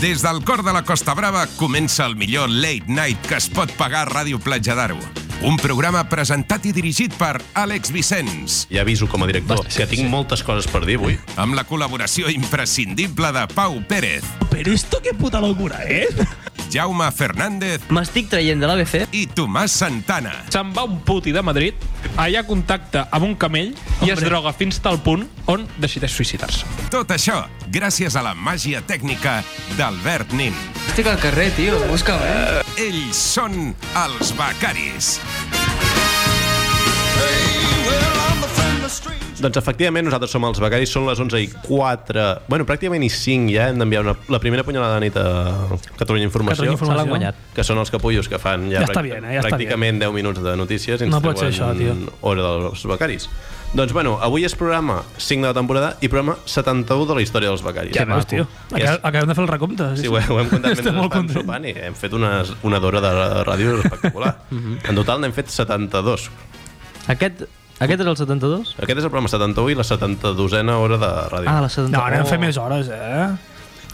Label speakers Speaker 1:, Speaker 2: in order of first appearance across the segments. Speaker 1: Des del cor de la Costa Brava comença el millor late night que es pot pagar a Ràdio Platja d'Aro. Un programa presentat i dirigit per Àlex Vicenç,
Speaker 2: Ja aviso com a director
Speaker 3: Basta,
Speaker 2: que tinc moltes coses per dir avui.
Speaker 1: amb la col·laboració imprescindible de Pau Pérez,
Speaker 4: Pero esto qué puta locura eh? es.
Speaker 1: Jaume Fernández
Speaker 3: M'estic traient de l'ABC.
Speaker 1: i Tomàs Santana.
Speaker 5: Se'n va un puti de Madrid, allà contacta amb un camell i es
Speaker 3: Hombre.
Speaker 5: droga fins tal punt on decideix suïcidar-se.
Speaker 1: Tot això gràcies a la màgia tècnica d'Albert Nin.
Speaker 3: Estic al carrer, tio. Busca'm, eh?
Speaker 1: Ells són els becaris.
Speaker 2: Doncs efectivament nosaltres som els becaris, són les 11 i 4, bueno, pràcticament i 5 ja, hem d'enviar una, la primera punyalada de nit a Catalunya Informació. Ah,
Speaker 4: Catalunya Informació. Se l'han guanyat.
Speaker 2: Que són els capullos que fan ja,
Speaker 4: Ja està
Speaker 2: pràct-
Speaker 4: bien, eh? Ja està
Speaker 2: pràcticament 10 minuts de notícies i ens
Speaker 4: No pot ser
Speaker 2: treuen
Speaker 4: això, tio.
Speaker 2: hora dels becaris. Doncs bueno, avui és programa 5 de la temporada i programa 71 de la història dels becaris.
Speaker 4: Ja veus, tio.
Speaker 2: Que
Speaker 4: Acab
Speaker 2: és-
Speaker 4: acabem de fer el recompte.
Speaker 2: Sí, ho, ho hem contat mentre
Speaker 4: Estic molt
Speaker 2: estàvem
Speaker 4: content.
Speaker 2: sopant i hem fet una, una d'hora de ràdio espectacular.
Speaker 4: Mhm.
Speaker 2: en total n'hem fet 72.
Speaker 6: Aquest, aquest és el 72?
Speaker 2: Aquest és el programa 71 i la 72a hora de ràdio.
Speaker 6: Ah, la 72.
Speaker 4: No, ara en fem més hores, eh?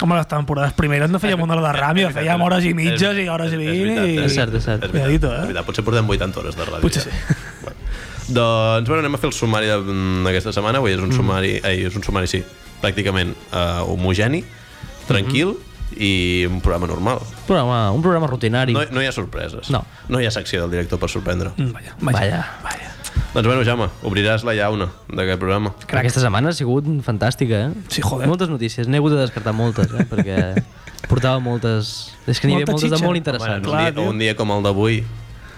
Speaker 4: Home, les temporades primeres no fèiem una hora de ràdio, fèiem hores i mitges i hores i vint i...
Speaker 6: És cert, és cert.
Speaker 4: Cuidadito, eh?
Speaker 2: És veritat, potser portem 80 hores de ràdio.
Speaker 4: Potser
Speaker 2: ja. Bueno. Doncs, bueno, anem a fer el sumari de- mm, d'aquesta setmana. Avui és un sumari, ai, és un sumari, sí, pràcticament uh, homogeni, tranquil i un programa normal.
Speaker 6: Un programa, un programa rutinari.
Speaker 2: No, no hi ha sorpreses.
Speaker 6: No.
Speaker 2: No hi ha secció del director per sorprendre.
Speaker 4: Mm, Vaja,
Speaker 6: Vaja.
Speaker 4: vaja.
Speaker 2: Doncs, bueno, Jaume, obriràs la llauna d'aquest programa.
Speaker 6: Crec. Aquesta setmana ha sigut fantàstica, eh?
Speaker 4: Sí, joder.
Speaker 6: Moltes notícies. N'he hagut de descartar moltes, eh? Perquè portava moltes... És que n'hi havia
Speaker 4: Molta
Speaker 6: moltes de
Speaker 4: xitxa.
Speaker 6: molt
Speaker 2: Bueno,
Speaker 6: interessants.
Speaker 2: un, dia, un dia com el d'avui,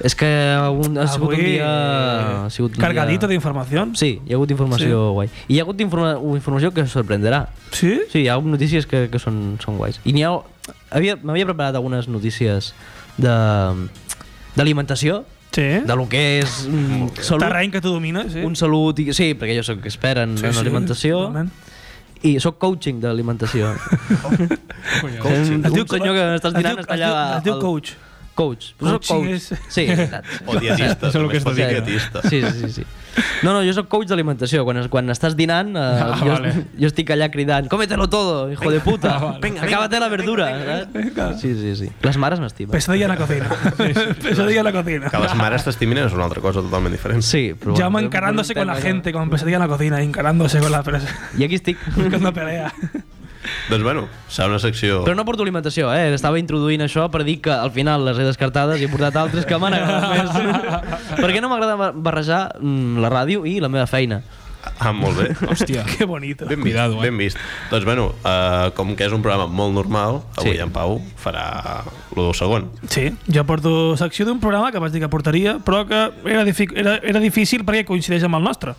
Speaker 6: És que un, ha sigut un
Speaker 4: Avui,
Speaker 6: dia... Ha sigut un
Speaker 4: Cargadito
Speaker 6: dia...
Speaker 4: d'informació.
Speaker 6: Sí, hi ha hagut informació sí. guai. I hi ha hagut informa informació que sorprendrà.
Speaker 4: Sí?
Speaker 6: Sí, hi ha notícies que, que són, són guais. I n'hi ha... havia- M'havia preparat algunes notícies de d'alimentació,
Speaker 4: Sí.
Speaker 6: de lo que és mm, salut,
Speaker 4: Eh? Terreny que tu domines, sí.
Speaker 6: un salut... i- Sí, perquè jo sóc expert en, en alimentació
Speaker 4: totalment.
Speaker 6: i sóc coaching d'alimentació. coaching.
Speaker 4: Es diu-
Speaker 6: Un senyor que estàs
Speaker 4: es
Speaker 6: dinant
Speaker 4: diu-
Speaker 6: està
Speaker 4: es
Speaker 6: allà...
Speaker 4: diu- Es diu
Speaker 6: al-
Speaker 4: coach.
Speaker 6: Coach. Però soc
Speaker 4: Coaching
Speaker 6: coach.
Speaker 4: és-
Speaker 6: Sí, és veritat.
Speaker 2: o dietista,
Speaker 5: Això és el
Speaker 2: també
Speaker 5: que
Speaker 2: es
Speaker 5: estàs
Speaker 2: pot dir
Speaker 5: dient.
Speaker 2: dietista.
Speaker 6: Sí, sí, sí. No, no, jo sóc coach d'alimentació. Quan, quan estàs dinant, eh, ah, jo,
Speaker 5: vale.
Speaker 6: jo estic allà cridant «Cómetelo todo, hijo de puta! Ah, vale. Acábate la verdura!» saps? Sí, sí, sí. Les mares m'estimen.
Speaker 4: Pesadilla en la cocina. Pesadilla en la cocina.
Speaker 2: Que les mares t'estimin és una altra cosa totalment diferent.
Speaker 6: Sí, però...
Speaker 4: Jaume
Speaker 6: bueno,
Speaker 4: encarándose
Speaker 6: un
Speaker 4: con la
Speaker 6: tema
Speaker 4: gente, con pesadilla en la cocina, encarándose con la presa.
Speaker 6: que- I aquí estic.
Speaker 4: Buscando pelea.
Speaker 2: Doncs bueno, serà una secció...
Speaker 6: Però no porto alimentació, eh? Estava introduint això per dir que al final les he descartades i he portat altres que m'han agradat més. Perquè no m'agrada bar- barrejar mm, la ràdio i la meva feina.
Speaker 2: Ah, molt bé.
Speaker 5: Hòstia.
Speaker 4: Qué bonito.
Speaker 2: Ben vist,
Speaker 5: Cuidado, eh?
Speaker 2: ben vist. Doncs bueno, uh, com que és un programa molt normal, avui
Speaker 6: Sí.
Speaker 2: sí. en Pau farà lo segon.
Speaker 4: Sí, jo porto secció d'un programa que vaig dir que portaria, però que era, dific, era, era difícil perquè coincideix amb el nostre.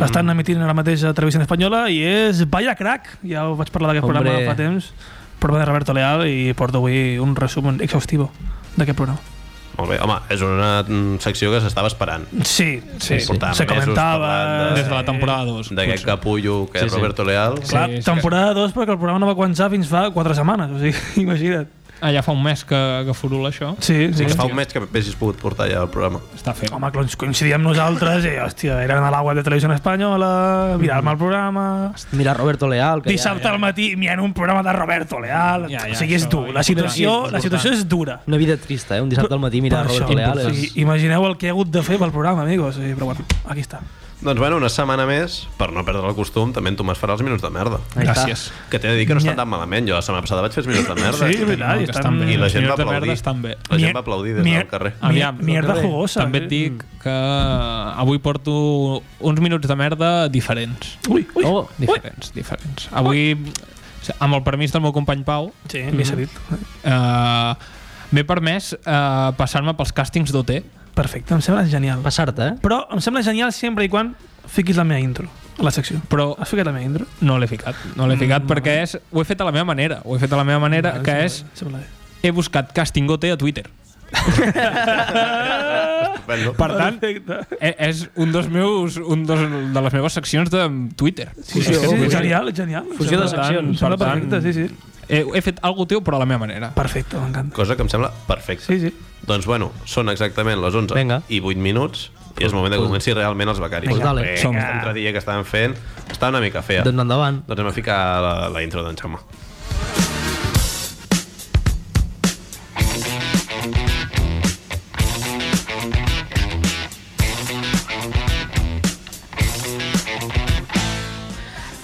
Speaker 4: L'estan
Speaker 6: Mm.
Speaker 4: emitint ara mateix a Televisió Espanyola i és Vaya Crack, ja ho vaig parlar d'aquest
Speaker 6: Hombre.
Speaker 4: programa fa temps, programa de Roberto Leal i porto avui un resum exhaustivo d'aquest programa.
Speaker 2: Molt bé, home, és una mm, secció que s'estava esperant.
Speaker 4: Sí, sí, sí.
Speaker 6: sí.
Speaker 4: se
Speaker 2: Portàvem mesos
Speaker 4: comentava...
Speaker 2: parlant
Speaker 5: Des de la temporada 2.
Speaker 2: D'aquest capullo que sí,
Speaker 6: Sí,
Speaker 2: és
Speaker 6: sí.
Speaker 2: Roberto Leal.
Speaker 5: Sí.
Speaker 4: Clar,
Speaker 5: és que-
Speaker 4: temporada 2 perquè el programa no va començar fins fa 4 setmanes, o sigui, imagina't.
Speaker 5: Allà fa un mes que, que furula això.
Speaker 4: Sí,
Speaker 2: Sí,
Speaker 4: sí.
Speaker 2: que fa un mes que hauries pogut portar ja el programa.
Speaker 5: Està fet.
Speaker 4: Home, clar, ens coincidíem nosaltres i, hòstia, eren a la web de Televisió Espanyola, mirar-me el programa...
Speaker 6: Mira Roberto Leal, que
Speaker 4: Dissabte al matí mirant un programa de Roberto Leal.
Speaker 5: Ja, ja,
Speaker 4: o sigui, és
Speaker 5: això,
Speaker 4: dur.
Speaker 6: eh?
Speaker 4: La
Speaker 5: important,
Speaker 4: situació, la
Speaker 5: important.
Speaker 4: situació és dura.
Speaker 6: ja... Una vida trista, eh? Un dissabte al matí mirar
Speaker 4: Per
Speaker 6: Roberto
Speaker 4: això.
Speaker 6: Leal
Speaker 4: O sigui,
Speaker 6: és...
Speaker 4: imagineu el que he hagut de fer pel programa, amigos. Sí, però bueno, aquí està.
Speaker 2: Doncs bueno, una setmana més, per no perdre el costum, també en Tomàs farà els minuts de merda.
Speaker 6: Ahí està.
Speaker 5: Gràcies.
Speaker 2: Que t'he de dir que no estan
Speaker 4: Ja.
Speaker 2: tan malament. Jo la setmana passada vaig fer els minuts de merda.
Speaker 4: Sí, és veritat.
Speaker 5: No,
Speaker 4: i
Speaker 5: que
Speaker 4: estan-
Speaker 5: estan bé.
Speaker 2: I la
Speaker 5: Els
Speaker 2: gent va
Speaker 5: minuts de merda
Speaker 2: aplaudir.
Speaker 5: Estan bé.
Speaker 2: La gent
Speaker 4: Mier-
Speaker 2: va aplaudir des
Speaker 4: mier-
Speaker 2: del carrer.
Speaker 5: Aviam,
Speaker 4: mierda
Speaker 5: també-
Speaker 4: jugosa,
Speaker 5: També
Speaker 4: eh?
Speaker 5: et dic que avui porto uns minuts de merda diferents.
Speaker 4: Ui, ui.
Speaker 6: Oh,
Speaker 5: Diferents, diferents. Avui, amb el permís del meu company Pau,
Speaker 4: Sí, m'he cedit.
Speaker 5: eh, m'he permès eh, passar-me pels càstings d'OT.
Speaker 4: Perfecte, em sembla genial.
Speaker 6: Passar-te, eh?
Speaker 4: Però em sembla genial sempre i quan fiquis la meva intro a la secció.
Speaker 5: Però
Speaker 4: Has ficat la meva intro?
Speaker 5: no l'he ficat, no l'he ficat perquè és, ho he fet a la meva manera, ho he fet a la meva manera, que
Speaker 4: Em
Speaker 5: és,
Speaker 4: sembla bé, em sembla bé.
Speaker 5: he buscat càsting OT a Twitter.
Speaker 2: Estupendo.
Speaker 5: Per tant,
Speaker 4: Perfecte.
Speaker 5: e- és un dels meus, un dels, de les meves seccions de Twitter.
Speaker 4: Sí, sí,
Speaker 5: És que
Speaker 4: sí,
Speaker 5: vull dir,
Speaker 4: genial, genial.
Speaker 6: Fusió de
Speaker 4: Em sembla-
Speaker 6: seccions.
Speaker 4: em sembla
Speaker 5: Per tant-
Speaker 4: perfecte, sí, sí.
Speaker 5: He, he fet algo teu, però a la meva manera.
Speaker 4: Perfecte, m'encanta.
Speaker 2: Cosa que em sembla perfecta.
Speaker 4: Sí, sí.
Speaker 2: Doncs bueno, són exactament les 11
Speaker 6: Vinga.
Speaker 2: i 8 minuts i és el moment de que comenci realment els becaris.
Speaker 6: Vinga. Dale.
Speaker 2: Som
Speaker 5: Som-hi.
Speaker 2: l'altre dia que estàvem fent. Estava una mica fea.
Speaker 6: Doncs
Speaker 2: Doncs
Speaker 6: endavant.
Speaker 2: anem a ficar la, la intro d'en Jaume.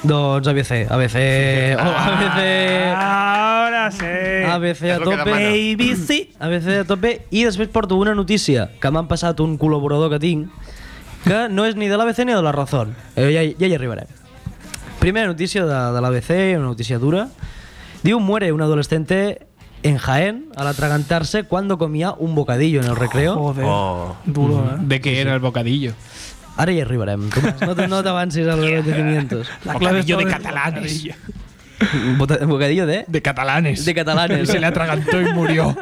Speaker 6: Doncs ABC, ABC... Oh, ABC...
Speaker 4: Ah, Ahora sí.
Speaker 6: ABC a
Speaker 7: És lo que
Speaker 6: tope.
Speaker 7: demana.
Speaker 4: ABC.
Speaker 6: ABC a tope. I després porto una notícia que m'han passat un col·laborador que tinc, que no és ni de l'ABC ni de la Razón. Eh, ja, ja hi arribarem. Primera notícia de, de l'ABC, una notícia dura. Diu, muere un adolescente en Jaén al atragantarse cuando comía un bocadillo en el recreo.
Speaker 4: Joder.
Speaker 2: Oh.
Speaker 4: Duro, eh?
Speaker 5: De què era el bocadillo.
Speaker 6: Ara hi arribarem. Tomàs, no, te- no t'avancis als acontecimientos.
Speaker 4: La clave
Speaker 5: Bocadillo de
Speaker 4: estaba en-
Speaker 5: catalanes.
Speaker 6: Bota- Bocadillo de...
Speaker 5: De catalanes.
Speaker 6: De catalanes.
Speaker 5: Se le atragantó y murió.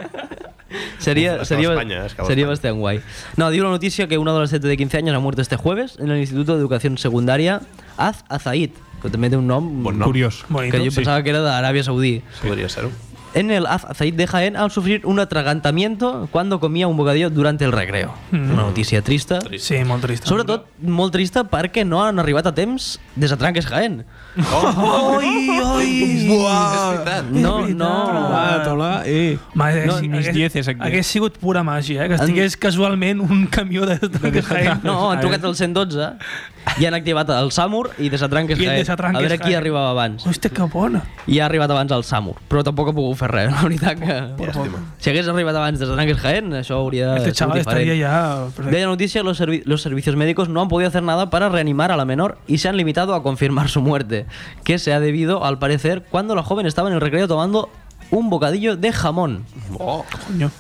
Speaker 6: Sería,
Speaker 2: Acaba
Speaker 6: sería,
Speaker 2: España, es que acaba
Speaker 6: sería
Speaker 2: España.
Speaker 6: bastante guay. No, digo la noticia que un adolescente de 15 años ha muerto este jueves en el Instituto de Educación Secundaria Az Azaid, que también tiene un nombre
Speaker 2: Bon nom.
Speaker 5: Curiós.
Speaker 4: Bonito.
Speaker 6: que yo pensaba que era de Arabia Saudí.
Speaker 2: Podria ser-ho.
Speaker 6: En el Az Azaid de Jaén al sufrir un atragantamiento cuando comía un bocadillo durante el recreo. Una noticia triste.
Speaker 4: Sí, molt trist.
Speaker 6: Sobretot molt trista perquè no han arribat a temps des de Tranques Jaén.
Speaker 4: Oi, oi.
Speaker 5: Buah!
Speaker 6: No, no.
Speaker 5: Hola, hola, eh.
Speaker 4: Ma, eh,
Speaker 5: No,
Speaker 4: si-
Speaker 5: mis
Speaker 4: hagués-
Speaker 5: dieces aquí.
Speaker 4: Hagués sigut pura màgia, eh? Que estigués casualment un camió de Tranques Jaén.
Speaker 6: No, han trucat al 112 i han activat el Samur i des de Tranques
Speaker 4: I el
Speaker 6: Jaén.
Speaker 4: des de Tranques
Speaker 6: A veure qui
Speaker 4: Jaén.
Speaker 6: arribava abans.
Speaker 4: Hòstia, que bona.
Speaker 6: i ha arribat abans al Samur, però tampoc ha pogut fer res, la veritat que...
Speaker 2: Llàstima.
Speaker 6: Si hagués arribat abans des de Tanques Jaén, això hauria
Speaker 4: Este chaval estaria ja...
Speaker 6: De
Speaker 4: perfecte.
Speaker 6: la noticia, los, servi- los servicios médicos no han podido hacer nada para reanimar a la menor y se han limitado a confirmar su muerte, que se ha debido, al parecer, cuando la joven estaba en el recreo tomando un bocadillo de jamón.
Speaker 4: Coño.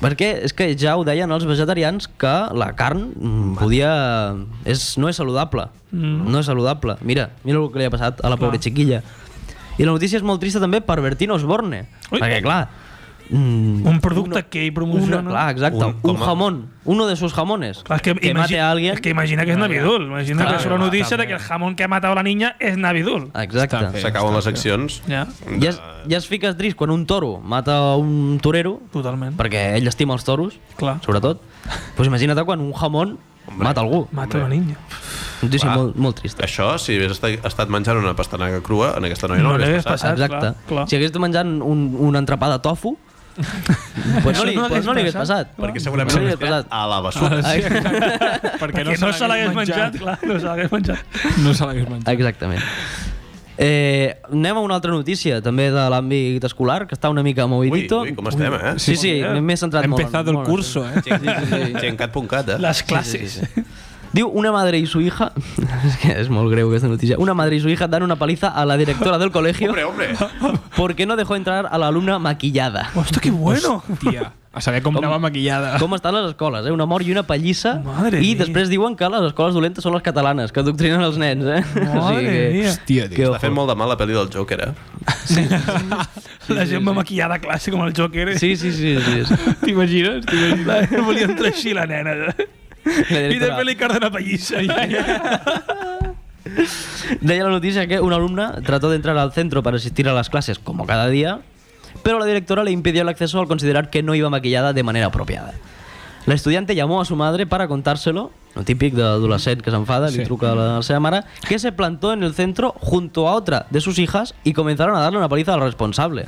Speaker 6: Perquè és que ja ho deien els vegetarians que la carn mm, podia... És, no és saludable. Mm. No és saludable. Mira, mira el que li ha passat a la pobra xiquilla. I la notícia és molt trista també per Bertino Osborne.
Speaker 4: Ui.
Speaker 6: Ui. Perquè, clar... Mm,
Speaker 4: Un producte que ell promociona.
Speaker 6: una, clar, exacte,
Speaker 2: Un-
Speaker 6: un,
Speaker 2: com
Speaker 6: un
Speaker 2: a-
Speaker 6: jamón, uno de sus jamones,
Speaker 4: Clar, és que,
Speaker 6: que
Speaker 4: imagi-
Speaker 6: mate a alguien.
Speaker 4: és que imagina que és Navidul. Imagina
Speaker 6: Clar,
Speaker 4: que és una
Speaker 6: clar,
Speaker 4: notícia de
Speaker 6: també. Ah.
Speaker 4: que el jamón que ha matat la niña és Navidul.
Speaker 6: Exacte.
Speaker 2: S'acaben les accions.
Speaker 4: Ja,
Speaker 6: Ja, es, ja es fiques trist quan un toro mata un torero,
Speaker 4: totalment.
Speaker 6: perquè ell estima els toros,
Speaker 4: Clar.
Speaker 6: sobretot. Doncs pues imagina't quan un jamón mata algú.
Speaker 4: Mata la niña.
Speaker 6: Notícia molt, molt trista.
Speaker 2: Això, si hagués estat, estat menjant una pastanaga crua, en aquesta noia no,
Speaker 4: No
Speaker 2: no l'hagués
Speaker 4: l'hagués
Speaker 2: passat.
Speaker 4: passat.
Speaker 6: Exacte.
Speaker 4: clar, clar.
Speaker 6: Si hagués estat menjant un, un entrepà de tofu, pues no li,
Speaker 4: Això no
Speaker 6: pues no li
Speaker 4: l'hagués
Speaker 6: hagués passat.
Speaker 2: Perquè
Speaker 6: No
Speaker 2: segurament
Speaker 6: l'hagués
Speaker 2: l'hagués passat
Speaker 6: passat.
Speaker 2: a la bessura.
Speaker 5: Sí, perquè,
Speaker 4: Perquè no se l'hagués menjat, clar, no se l'hagués menjat.
Speaker 5: No se l'hagués menjat.
Speaker 6: Exactament. Eh, anem a una altra notícia, també de l'àmbit escolar, que està una mica
Speaker 2: Ui,
Speaker 6: movidito.
Speaker 2: ui, com estem, eh?
Speaker 6: Sí, sí, m'he centrat
Speaker 5: Ha
Speaker 6: molt. en-
Speaker 5: empezado el
Speaker 6: molt en-
Speaker 5: curso, eh?
Speaker 2: Gencat.cat, eh?
Speaker 4: Les classes.
Speaker 6: Diu, una madre y su hija... es que es muy greu aquesta noticia. Una madre y su hija dan una paliza a la directora del colegio
Speaker 2: Hombre, hombre.
Speaker 6: porque no dejó entrar a la alumna maquillada.
Speaker 4: Hòstia, que bueno.
Speaker 5: Tia, a saber com, anava maquillada.
Speaker 6: Com estan les escoles, eh? Una mort i una pallissa.
Speaker 4: Madre
Speaker 6: I
Speaker 4: mía.
Speaker 6: després diuen que les escoles dolentes són les catalanes, que adoctrinen els nens, eh?
Speaker 4: Madre mía.
Speaker 5: Hòstia,
Speaker 6: que
Speaker 5: tio.
Speaker 2: Està fent molt de mal la pel·li del Joker, eh?
Speaker 4: La gent va maquillada a classe com el Joker. eh?
Speaker 6: Sí, sí, sí. sí, sí.
Speaker 4: T'imagines? T'imagines? Volia entrar així la nena.
Speaker 6: La
Speaker 4: I
Speaker 6: directora.
Speaker 4: després li carden a pallissa.
Speaker 6: Deia la noticia que una alumna trató de entrar al centro para asistir a las clases como cada día, pero la directora le impidió el acceso al considerar que no iba maquillada de manera apropiada. La estudiante llamó a su madre para contárselo, lo típico de adolescente que se enfada, le truca a la seva mare, que se plantó en el centro junto a otra de sus hijas y comenzaron a darle una paliza al responsable.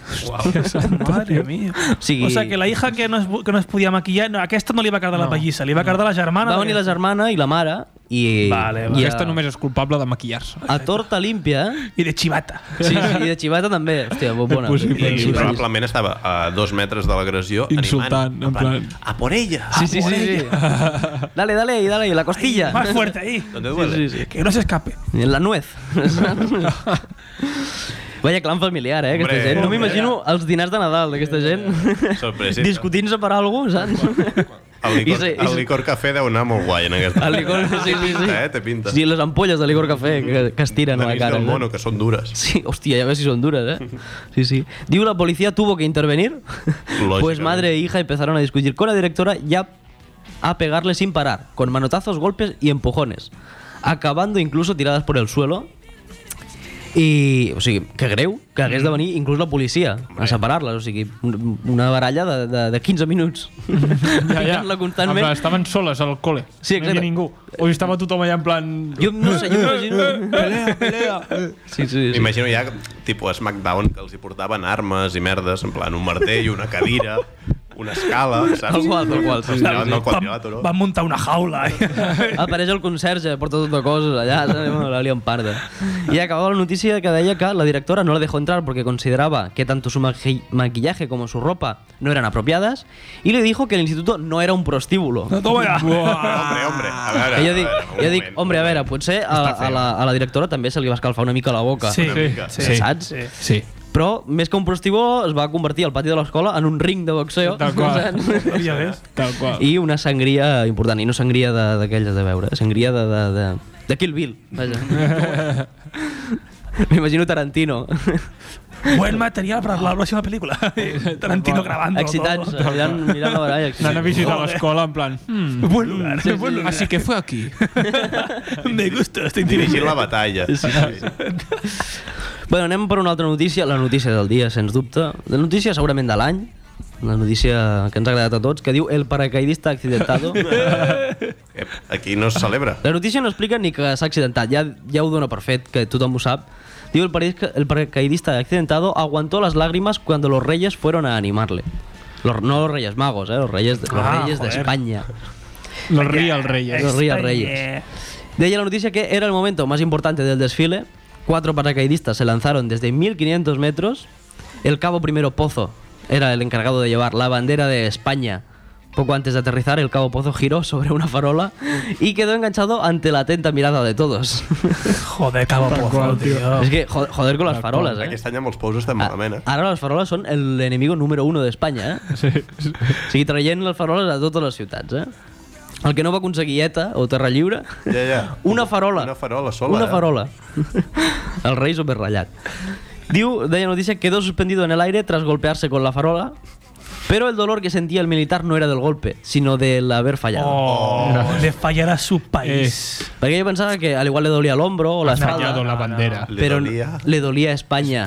Speaker 4: Madre mía.
Speaker 6: sigui-
Speaker 4: O sea, que la hija que no es, que no es podia maquillar, no, aquesta no li va cardar la pallissa, li va cardar la germana.
Speaker 6: Va venir la germana i la mare i,
Speaker 4: Vale, vale.
Speaker 6: i
Speaker 5: Aquesta
Speaker 6: a,
Speaker 5: només és culpable de maquillar-se.
Speaker 6: a torta límpia eh?
Speaker 4: I de xivata.
Speaker 6: sí, sí, i de xivata també hòstia, molt bona
Speaker 5: possible.
Speaker 2: I
Speaker 6: sí, sí,
Speaker 2: probablement estava a dos metres de l'agressió animant,
Speaker 5: Insultant, en plan...
Speaker 2: A por ella!
Speaker 6: sí, sí, sí. dale, dale, dale, la costilla
Speaker 4: Más fuerte ahí.
Speaker 2: Donde duele.
Speaker 6: sí, sí.
Speaker 4: Que no se escape.
Speaker 6: la nuez Vaya clan familiar, eh, aquesta
Speaker 2: Hombre,
Speaker 6: gent. No
Speaker 2: hombre. Eh,
Speaker 6: m'imagino els dinars de Nadal d'aquesta gent
Speaker 2: Sorpresita.
Speaker 6: discutint-se per alguna cosa, saps?
Speaker 2: El
Speaker 6: I
Speaker 2: licor,
Speaker 6: se- i
Speaker 2: el
Speaker 6: se-
Speaker 2: licor cafè deu anar molt guai en aquesta.
Speaker 6: El licor, sí, sí, sí.
Speaker 2: Eh, té pinta.
Speaker 6: Sí, les ampolles de licor cafè que, que es tiren a la
Speaker 2: Tenis
Speaker 6: cara.
Speaker 2: del
Speaker 6: saps?
Speaker 2: mono, que són dures.
Speaker 6: Sí, hostia, ya ves si son duras, ¿eh? Sí, sí. Digo, la policía tuvo que intervenir.
Speaker 2: Lógicamente.
Speaker 6: Pues madre e hija empezaron a discutir con la directora ya a pegarle sin parar, con manotazos, golpes y empujones, acabando incluso tiradas por el suelo. I, o sigui, que greu que hagués de venir inclús la policia a separar-les, o sigui, un- una baralla de, de, de 15 minuts. Ja, la
Speaker 5: En plan,
Speaker 6: constantment.
Speaker 5: estaven soles al col·le.
Speaker 6: Sí,
Speaker 5: No hi havia
Speaker 6: exacte.
Speaker 5: ningú. O hi estava tothom allà en plan...
Speaker 6: Jo no sé, jo m'imagino... Pelea, pelea. Sí, sí, sí.
Speaker 2: M'imagino ja tipus SmackDown que els hi portaven armes i merdes, en plan un martell, una cadira, una escala, saps?
Speaker 6: Tal qual, tal qual, sí, sí,
Speaker 2: Anaven
Speaker 6: sí.
Speaker 2: al quadrilàter, no?
Speaker 4: Van muntar una jaula. eh?
Speaker 6: Apareix el conserge, porta tot de coses allà, saps? Bueno, la lien parda. I acabava la notícia que deia que la directora no la dejó entrar porque consideraba que tanto su maqui- maquillaje como su ropa no eran apropiadas y le dijo que el instituto no era un prostíbulo.
Speaker 4: Toma ja.
Speaker 2: Hombre, hombre, a veure...
Speaker 6: Que jo
Speaker 2: a
Speaker 6: dic,
Speaker 2: veure, un
Speaker 6: jo dic,
Speaker 2: moment.
Speaker 6: hombre, a veure, potser a, la- a, la, a la directora també se li va escalfar una mica la boca.
Speaker 4: Sí,
Speaker 5: sí,
Speaker 4: sí.
Speaker 6: saps?
Speaker 4: Sí.
Speaker 5: Sí.
Speaker 6: Però, més que un prostíbulo, es va convertir el pati de l'escola en un ring de boxeo.
Speaker 5: Tal qual.
Speaker 6: saps?
Speaker 4: Ja ves.
Speaker 5: Tal qual.
Speaker 6: I una sangria important, i no sangria de- d'aquelles de, veure, sangria de, de, de, de Kill Bill, vaja. M'imagino Tarantino,
Speaker 4: Buen material per la pròxima pel·lícula. Tarantino grabando.
Speaker 6: excitant-se,
Speaker 4: todo.
Speaker 6: mirant, mirant la baralla.
Speaker 5: Anant a visitar
Speaker 4: Joder.
Speaker 5: l'escola en plan... "Mm,
Speaker 4: Buen lugar,
Speaker 5: sí,
Speaker 4: buen
Speaker 5: sí.
Speaker 4: lugar.
Speaker 5: Así que fue aquí.
Speaker 4: Me gusta, este estoy
Speaker 2: Dirigint la
Speaker 4: dirigiendo.
Speaker 2: batalla. Sí, sí.
Speaker 6: Bueno, anem per una altra notícia, la notícia del dia, sens dubte. La notícia segurament de l'any, la notícia que ens ha agradat a tots, que diu El paracaidista accidentado.
Speaker 2: Ep, Eh, Aquí no es celebra.
Speaker 6: La notícia no explica ni que s'ha accidentat, ja, ja ho dona per fet, que tothom ho sap. Diu el, paraisca- el paracaidista accidentado aguantó las lágrimas cuando los reyes fueron a animarle. Los, no los reyes magos, eh, los reyes, de- los
Speaker 4: Ah,
Speaker 6: reyes de
Speaker 4: joder.
Speaker 6: España.
Speaker 5: Los ría el rey.
Speaker 4: este
Speaker 6: Los Ríos
Speaker 4: eh,
Speaker 6: Reyes. Deia la noticia que era el momento más importante del desfile. Cuatro paracaidistas se lanzaron desde 1500 metros. El cabo primero Pozo era el encargado de llevar la bandera de España. Poco antes de aterrizar, el cabo Pozo giró sobre una farola y quedó enganchado ante la atenta mirada de todos.
Speaker 4: Joder, cabo pozo, tío.
Speaker 6: es que jo- joder con las farolas, eh.
Speaker 2: Aquest any amb els pous estan
Speaker 6: Ah,
Speaker 2: malament, eh?
Speaker 6: Ara les faroles són el enemigo número uno d'Espanya, eh? Sí. O sigui, traient les faroles a totes les ciutats, eh? El que no va aconseguir ETA o Terra Lliure
Speaker 2: Ja, ja.
Speaker 6: Una farola.
Speaker 2: Una farola sola,
Speaker 6: Una
Speaker 2: eh?
Speaker 6: farola. El rei superratllat. Diu, de la noticia, quedó suspendido en el aire tras golpearse con la farola, pero el dolor que sentía el militar no era del golpe, sino del haber fallado.
Speaker 4: Oh, le fallará su país.
Speaker 2: Oh.
Speaker 6: Porque yo pensaba que al igual le dolía el hombro o la
Speaker 5: Fallado la
Speaker 6: espalda,
Speaker 5: bandera.
Speaker 2: Le
Speaker 6: pero
Speaker 2: dolía
Speaker 6: le dolía a España.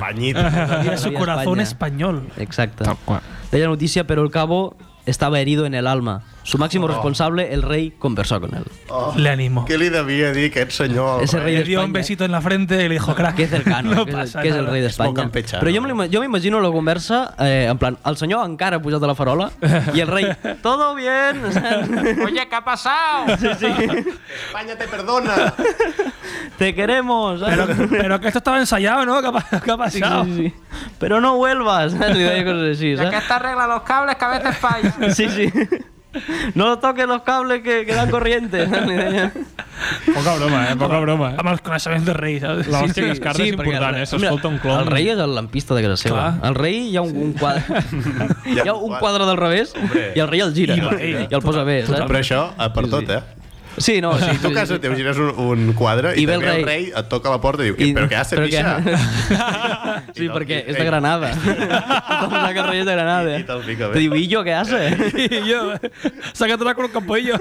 Speaker 2: Panyit.
Speaker 4: Era su
Speaker 6: Había
Speaker 4: corazón
Speaker 6: España.
Speaker 4: español.
Speaker 6: Exacto.
Speaker 5: Tal qual.
Speaker 6: De la noticia, pero el cabo estaba herido en el alma. Su
Speaker 4: Oh.
Speaker 6: máximo responsable, el rey, conversó con él.
Speaker 4: Le animó.
Speaker 2: Oh. Què li devia dir aquest senyor?
Speaker 6: Ese rei
Speaker 4: Le
Speaker 6: de
Speaker 4: dio un
Speaker 6: España.
Speaker 4: besito en la frente y le dijo, crack.
Speaker 6: Que cercano,
Speaker 4: no
Speaker 6: que, és,
Speaker 4: pasa
Speaker 6: que és el
Speaker 4: nada.
Speaker 6: rei
Speaker 2: molt
Speaker 6: d'Espanya.
Speaker 2: campechano.
Speaker 6: Però jo me l'ima- jo m'imagino la conversa, eh, en plan, el senyor encara ha pujat a la farola i el rei, todo bien. Oye, ¿qué ha pasado? Sí, sí.
Speaker 2: Espanya te perdona!
Speaker 6: Te queremos.
Speaker 4: Pero,
Speaker 6: saps?
Speaker 4: pero que esto estaba ensayado, ¿no? ¿Qué ha, pa- qué ha
Speaker 6: Sí,
Speaker 4: pasado?
Speaker 6: sí, sí. Pero no vuelvas. saps? Li deia coses així, saps?
Speaker 7: Aquesta regla los cables que a veces falla.
Speaker 6: Sí, sí. No toques los cables que, que dan corriente. saps? Li deia.
Speaker 5: Poca broma, eh? Poca broma, eh?
Speaker 4: Amb els coneixements del rei, saps?
Speaker 5: La hòstia que es carda és
Speaker 6: perquè
Speaker 5: important,
Speaker 6: el-
Speaker 5: eh? S'escolta un
Speaker 6: Mira,
Speaker 5: clon.
Speaker 6: El rei és el lampista de casa seva.
Speaker 5: Clar.
Speaker 6: El rei hi ha un, un quadre... hi ha un quadre del revés
Speaker 2: Hombre.
Speaker 6: i el rei el gira.
Speaker 4: I
Speaker 6: I,
Speaker 4: va, ell.
Speaker 6: el posa bé, saps?
Speaker 2: Però això, eh, per tot, eh?
Speaker 6: Sí, no, sí.
Speaker 2: Si tu a
Speaker 6: sí,
Speaker 2: casa
Speaker 6: sí.
Speaker 2: teu gires un, un quadre i,
Speaker 6: I ve el
Speaker 2: també el rei
Speaker 6: rei.
Speaker 2: et toca a la porta i diu però què hace,
Speaker 6: però què-
Speaker 2: pixa? I
Speaker 6: Sí,
Speaker 2: te'l
Speaker 6: perquè
Speaker 2: fica.
Speaker 6: és de Granada. Tothom sap que el rei és de Granada.
Speaker 2: I- i te'l fica bé.
Speaker 6: Te diu, i jo què hace?
Speaker 4: I jo, sácatela con un campello.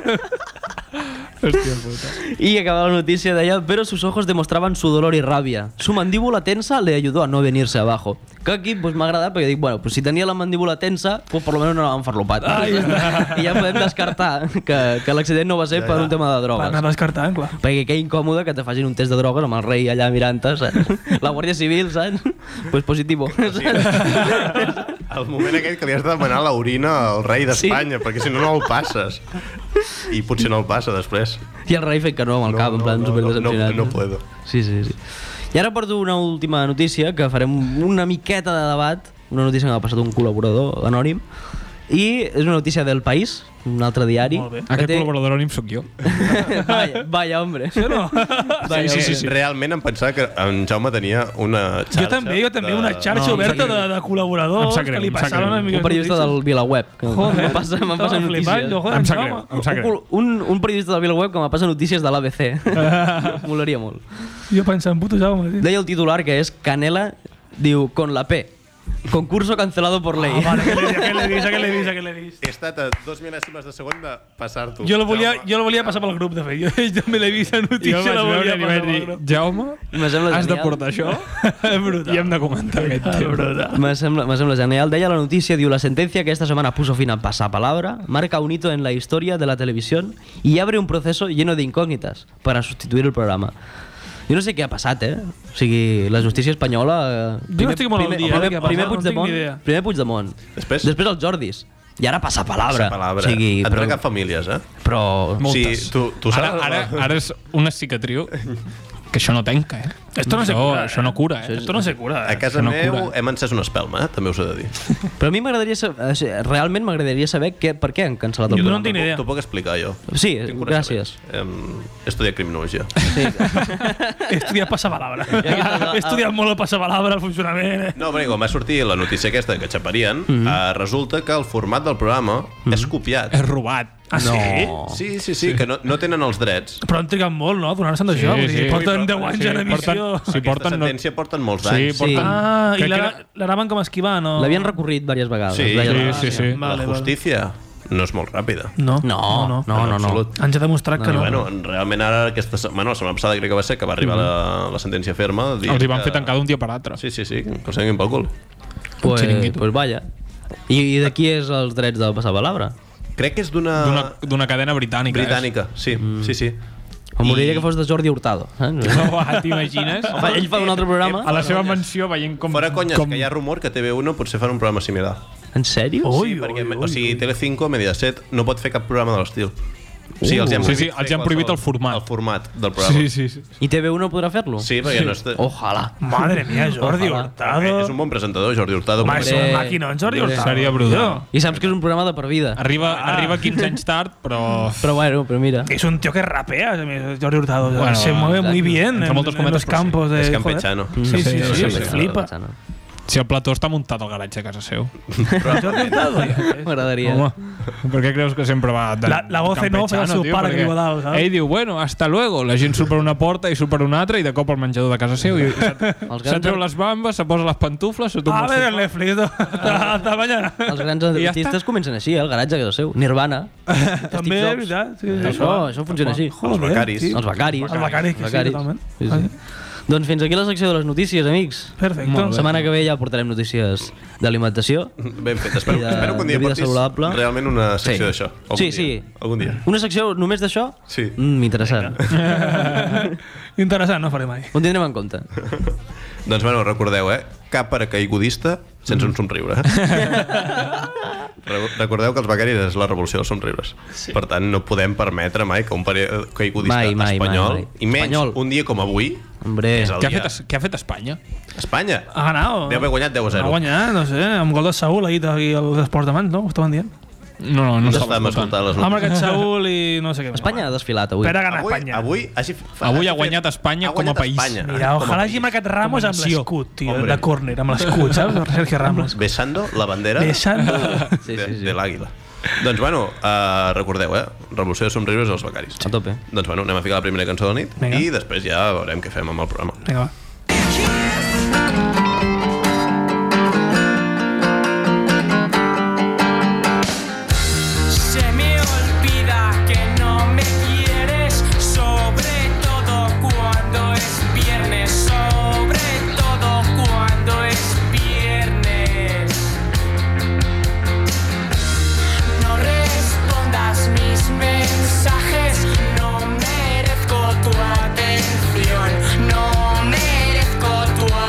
Speaker 6: Y acababa la noticia de allá, pero sus ojos demostraban su dolor y rabia. Su mandíbula tensa le ayudó a no venirse abajo. Que aquí pues, m'agrada perquè dic, bueno, pues, si tenia la mandíbula tensa, pues, por lo menos no la van farlopat. I ja podem descartar que, que l'accident no va ser per un tema de
Speaker 4: Va anar
Speaker 6: drogues.
Speaker 4: descartant, clar.
Speaker 6: Perquè que incòmode que te facin un test de drogues amb el rei allà mirant-te, saps? La Guàrdia Civil, saps? Pues positivo. Saps?
Speaker 2: El moment aquell que li has de demanar l'orina al rei d'Espanya, perquè si no, no el passes. I potser no el passa després.
Speaker 6: I el rei fent que no amb el cap, en plan
Speaker 2: no, no, no,
Speaker 6: superdecepcionat.
Speaker 2: no puedo.
Speaker 6: Sí, sí, sí. I ara porto una última notícia que farem una miqueta de debat, una notícia que m'ha passat un col·laborador anònim, i és una notícia del País, un altre diari.
Speaker 4: Molt bé.
Speaker 6: que
Speaker 5: Aquest
Speaker 6: té-
Speaker 5: col·laborador anònim sóc jo.
Speaker 6: vaya, vaya, hombre. Sí,
Speaker 4: No?
Speaker 5: Sí, sí,
Speaker 6: vaya, hombre.
Speaker 5: sí, sí.
Speaker 2: Realment em pensava que en Jaume tenia una xarxa...
Speaker 4: Jo també, jo també,
Speaker 2: de-
Speaker 4: una xarxa
Speaker 5: No, em sap
Speaker 4: oberta de,
Speaker 5: greu.
Speaker 4: de
Speaker 5: Em
Speaker 4: col·laboradors
Speaker 5: sap greu,
Speaker 4: que li
Speaker 5: em sap
Speaker 4: passaven
Speaker 5: greu.
Speaker 4: a
Speaker 6: Un periodista del VilaWeb. Que
Speaker 4: Joder,
Speaker 6: Joder, passa, em passa
Speaker 4: estava flipant,
Speaker 6: notícies.
Speaker 4: jo, joder,
Speaker 5: Em sap
Speaker 4: no,
Speaker 5: greu,
Speaker 4: home.
Speaker 5: em sap greu.
Speaker 6: Un, un, un periodista del VilaWeb que me passa notícies de l'ABC. Molaria molt.
Speaker 4: Jo pensant, puto Jaume, tio.
Speaker 6: Deia el titular, que és Canela, diu, con la P. Concurso cancelado por ley.
Speaker 4: Ah, vale, que l'he- que l'he vist, que l'he vist, que l'he vist.
Speaker 2: He estat a dos mil·lèsimes de segon de passar-t'ho.
Speaker 4: Jo la volia,
Speaker 2: Jaume.
Speaker 4: jo la volia passar pel grup, de fet. Jo, jo me l'he vist a
Speaker 5: Jo
Speaker 4: notícia,
Speaker 5: vaig
Speaker 4: la
Speaker 5: veure
Speaker 4: volia
Speaker 5: i li vaig
Speaker 4: passar pel
Speaker 5: dir,
Speaker 4: grup.
Speaker 5: Jaume,
Speaker 6: Me sembla
Speaker 5: has de
Speaker 6: genial.
Speaker 5: portar això i hem de comentar aquest tema.
Speaker 6: Me sembla, me sembla genial. Deia la noticia, dio la sentencia que esta semana puso fin al pasapalabra, marca un hito en la historia de la televisión y abre un proceso lleno de incógnitas para sustituir el programa. Jo no sé què ha passat, eh? O sigui, la justícia espanyola... eh,
Speaker 4: Jo no estic molt al
Speaker 6: primer,
Speaker 4: dia, eh, de
Speaker 6: primer,
Speaker 4: què ha passat,
Speaker 6: primer
Speaker 4: no en tinc
Speaker 6: Puigdemont,
Speaker 4: ni idea.
Speaker 6: primer Puigdemont.
Speaker 2: Després?
Speaker 6: Després els Jordis. I ara passa palabra.
Speaker 2: palabra.
Speaker 6: O sigui,
Speaker 2: Et
Speaker 6: però,
Speaker 2: trenquen famílies, eh?
Speaker 6: però...
Speaker 2: Sí,
Speaker 5: Moltes.
Speaker 2: tu- tu
Speaker 5: ara,
Speaker 2: saps-
Speaker 5: ara, ara és una cicatriu que això no tenca, eh?
Speaker 4: Esto no se cura, eh?
Speaker 5: Això no cura, eh?
Speaker 4: Esto no se cura.
Speaker 2: A
Speaker 4: eh?
Speaker 2: casa
Speaker 5: no
Speaker 2: meu
Speaker 5: cura.
Speaker 2: hem encès una espelma, eh? també us he de dir.
Speaker 6: Però a mi m'agradaria saber... o sigui, Realment m'agradaria saber què, per què han cancel·lat el
Speaker 4: Jo
Speaker 6: programa.
Speaker 4: no en tinc ni idea.
Speaker 2: T'ho puc explicar jo.
Speaker 6: Sí,
Speaker 2: Tinc
Speaker 6: gràcies.
Speaker 2: coneixement. Em, he estudiat criminologia.
Speaker 4: He estudiat passapalabra.
Speaker 6: estàs-
Speaker 4: He estudiat molt el passapalabra, el funcionament... Eh?
Speaker 2: No, perquè quan va sortir la notícia aquesta que xaparien, mm -hmm. eh, resulta que el format del programa mm -hmm. és copiat. Eh?
Speaker 5: És robat.
Speaker 4: Ah, sí?
Speaker 6: No.
Speaker 2: Sí, sí, sí, que no, no tenen els drets.
Speaker 4: Però han trigat molt, no?, a donar-se'n d'això.
Speaker 5: Sí,
Speaker 4: Sí, sí.
Speaker 5: sí.
Speaker 2: Sí,
Speaker 4: Porten 10 anys sí, en
Speaker 5: porten,
Speaker 4: emissió.
Speaker 5: si
Speaker 2: Aquesta
Speaker 5: porten... No,
Speaker 2: sentència porten molts
Speaker 5: sí,
Speaker 2: anys.
Speaker 5: porten...
Speaker 4: Ah, i
Speaker 5: crec que
Speaker 4: l'ana-
Speaker 5: era-
Speaker 4: l'anaven com a esquivar, no?
Speaker 6: L'havien recorrit diverses vegades.
Speaker 2: Sí,
Speaker 6: deia la-
Speaker 5: Sí, sí, sí.
Speaker 4: Vale,
Speaker 2: la
Speaker 4: vale.
Speaker 2: justícia no és molt ràpida.
Speaker 4: No,
Speaker 6: No, no, no, no. no.
Speaker 2: absolut.
Speaker 4: Ens ha demostrat que
Speaker 2: I
Speaker 4: no.
Speaker 2: bueno, realment ara aquesta setmana, la setmana passada crec que va ser que va arribar la, la sentència ferma. dient
Speaker 5: Els hi van
Speaker 2: que-
Speaker 5: fer tancar d'un dia per l'altre.
Speaker 2: Sí, sí, sí, que els tinguin pel cul.
Speaker 6: Pues,
Speaker 5: Chiringuito.
Speaker 6: pues vaya. I, I de qui és els drets del passapalabra?
Speaker 2: Crec que és d'una...
Speaker 5: D'una d'una cadena britànica. eh?
Speaker 2: Britànica, sí, mm. sí, sí.
Speaker 6: Em moriria
Speaker 2: I-
Speaker 6: que fos de Jordi Hurtado. Eh?
Speaker 5: No, ah, t'imagines?
Speaker 6: Fa- Ell fa un
Speaker 2: Eh,
Speaker 6: altre programa.
Speaker 5: A la seva menció veient com...
Speaker 2: Fora conyes,
Speaker 5: com...
Speaker 2: que hi ha rumor que TV1 potser farà un programa similar.
Speaker 6: En sèrio?
Speaker 4: Ui,
Speaker 2: sí, perquè,
Speaker 4: ui,
Speaker 2: o sigui, Telecinco, Mediaset, no pot fer cap programa de l'estil. O sigui,
Speaker 5: Uh. Sí, sí,
Speaker 2: prohibit
Speaker 5: els
Speaker 2: fer
Speaker 5: hi han prohibit
Speaker 2: qualsevol-
Speaker 5: el format.
Speaker 2: El format del programa.
Speaker 5: Sí, sí, sí.
Speaker 6: I TV1 podrà fer-lo?
Speaker 2: Sí, perquè no està...
Speaker 6: Ojalà.
Speaker 4: Madre mía, Jordi
Speaker 6: Ojalá.
Speaker 4: Hurtado.
Speaker 2: És un bon presentador, Jordi Hurtado.
Speaker 4: Home,
Speaker 2: com
Speaker 4: és
Speaker 2: a-
Speaker 4: un
Speaker 6: Eh,
Speaker 4: màquina, en Jordi Hurtado.
Speaker 5: Seria brutal.
Speaker 6: I saps que és un programa de per vida.
Speaker 5: Arriba, arriba 15 anys tard, però...
Speaker 6: Però bueno, però mira.
Speaker 4: Es un tío que rapea, a mí, Jordi Hurtado.
Speaker 5: Bueno,
Speaker 4: se mueve
Speaker 6: exacto.
Speaker 4: muy bien
Speaker 5: Entre
Speaker 4: en,
Speaker 5: moltes
Speaker 4: en
Speaker 5: cometes,
Speaker 4: los
Speaker 5: però sí.
Speaker 4: campos de.
Speaker 2: És
Speaker 4: joder.
Speaker 2: campechano.
Speaker 4: Sí, sí, sí,
Speaker 5: Sí,
Speaker 4: sí,
Speaker 5: sí,
Speaker 4: sí,
Speaker 5: sí.
Speaker 4: flipa.
Speaker 5: Si el plató està muntat al garatge a casa seu.
Speaker 4: Jordi Hurtado, eh?
Speaker 6: M'agradaria.
Speaker 5: Home, per què creus que sempre va... De,
Speaker 4: La- la voz en off era el
Speaker 5: campechano,
Speaker 4: seu
Speaker 5: tio?
Speaker 4: pare que
Speaker 5: Perquè
Speaker 4: diu a dalt, saps?
Speaker 5: Ell diu, bueno, hasta luego. La gent surt per una porta i surt per una altra i de cop al menjador de casa seu. I se,
Speaker 6: Els
Speaker 5: se
Speaker 6: grans,
Speaker 5: treu les bambes, se posa les pantufles, se toma
Speaker 4: A
Speaker 5: el
Speaker 4: ver el
Speaker 5: sopar.
Speaker 4: Netflix. no? Hasta mañana.
Speaker 6: els grans
Speaker 5: ja
Speaker 6: artistes comencen així, eh? el garatge que és el seu. Nirvana.
Speaker 4: També, és veritat. Sí, sí.
Speaker 6: Això, això funciona així.
Speaker 2: Els becaris.
Speaker 4: sí.
Speaker 6: Els becaris.
Speaker 4: Els becaris, que sí, totalment.
Speaker 6: Sí, sí. Doncs fins aquí la secció de les notícies, amics.
Speaker 4: Perfecte.
Speaker 6: La setmana que ve ja portarem notícies d'alimentació.
Speaker 2: Ben fet. Espero,
Speaker 6: Vida-
Speaker 2: espero que un dia
Speaker 6: vida
Speaker 2: portis
Speaker 6: saludable.
Speaker 2: realment una secció d'això. Algun
Speaker 6: Sí,
Speaker 2: dia.
Speaker 6: sí.
Speaker 2: Algun dia.
Speaker 6: Una secció només d'això?
Speaker 2: Sí.
Speaker 6: Mm, interessant.
Speaker 4: Interessant, no faré mai.
Speaker 6: Ho tindrem en compte.
Speaker 2: Doncs bueno, recordeu, eh? Cap paracaigudista sense un somriure. eh? Re- Recordeu que els becaris és la revolució dels somriures. Sí. Per tant, no podem permetre mai que un paracaigudista
Speaker 6: Mai, mai,
Speaker 2: espanyol,
Speaker 6: mai, mai.
Speaker 2: i menys
Speaker 6: Espanyol.
Speaker 2: un dia com avui,
Speaker 6: Hombre.
Speaker 2: és el
Speaker 5: Què ha,
Speaker 2: dia...
Speaker 5: fet, es- què ha fet Espanya?
Speaker 2: Espanya!
Speaker 4: Ha ganat.
Speaker 2: Deu haver guanyat 10 a 0.
Speaker 4: Ha guanyat, no sé, amb gol de Saúl ahir aquí als esports de mans, no? Ho estaven dient.
Speaker 5: No, no, no
Speaker 2: No
Speaker 5: estava
Speaker 2: estàvem
Speaker 5: escoltant.
Speaker 2: escoltant les
Speaker 4: Ha
Speaker 2: notícies.
Speaker 4: marcat Saúl i no sé què. més.
Speaker 6: Espanya ha desfilat avui.
Speaker 4: Però ha ganat
Speaker 2: Avui,
Speaker 4: Espanya.
Speaker 2: avui, hagi,
Speaker 5: Avui ha
Speaker 2: fet-
Speaker 5: guanyat Espanya
Speaker 2: ha
Speaker 5: com a
Speaker 2: guanyat
Speaker 5: país.
Speaker 2: Espanya. Com
Speaker 4: Mira,
Speaker 2: a
Speaker 4: ojalà
Speaker 2: país.
Speaker 4: hagi marcat Ramos amb
Speaker 5: nació.
Speaker 4: l'escut, tio,
Speaker 2: Hombre.
Speaker 4: de córner, amb l'escut, saps? Sergio Ramos.
Speaker 2: Besando la bandera
Speaker 4: Deixant...
Speaker 6: Sí,
Speaker 2: de,
Speaker 6: sí, sí.
Speaker 2: de l'àguila. Doncs bueno, uh, recordeu, eh? Revolució de somriures als becaris.
Speaker 6: A tope.
Speaker 2: Doncs bueno, anem a ficar la primera cançó de la nit
Speaker 4: Vinga.
Speaker 2: i després ja veurem què fem amb el programa.
Speaker 4: Vinga, va.
Speaker 8: Se me olvida que no me quieres, sobre todo cuando es viernes, sobre todo cuando es viernes. No respondas mis mensajes, no merezco tu atención, no merezco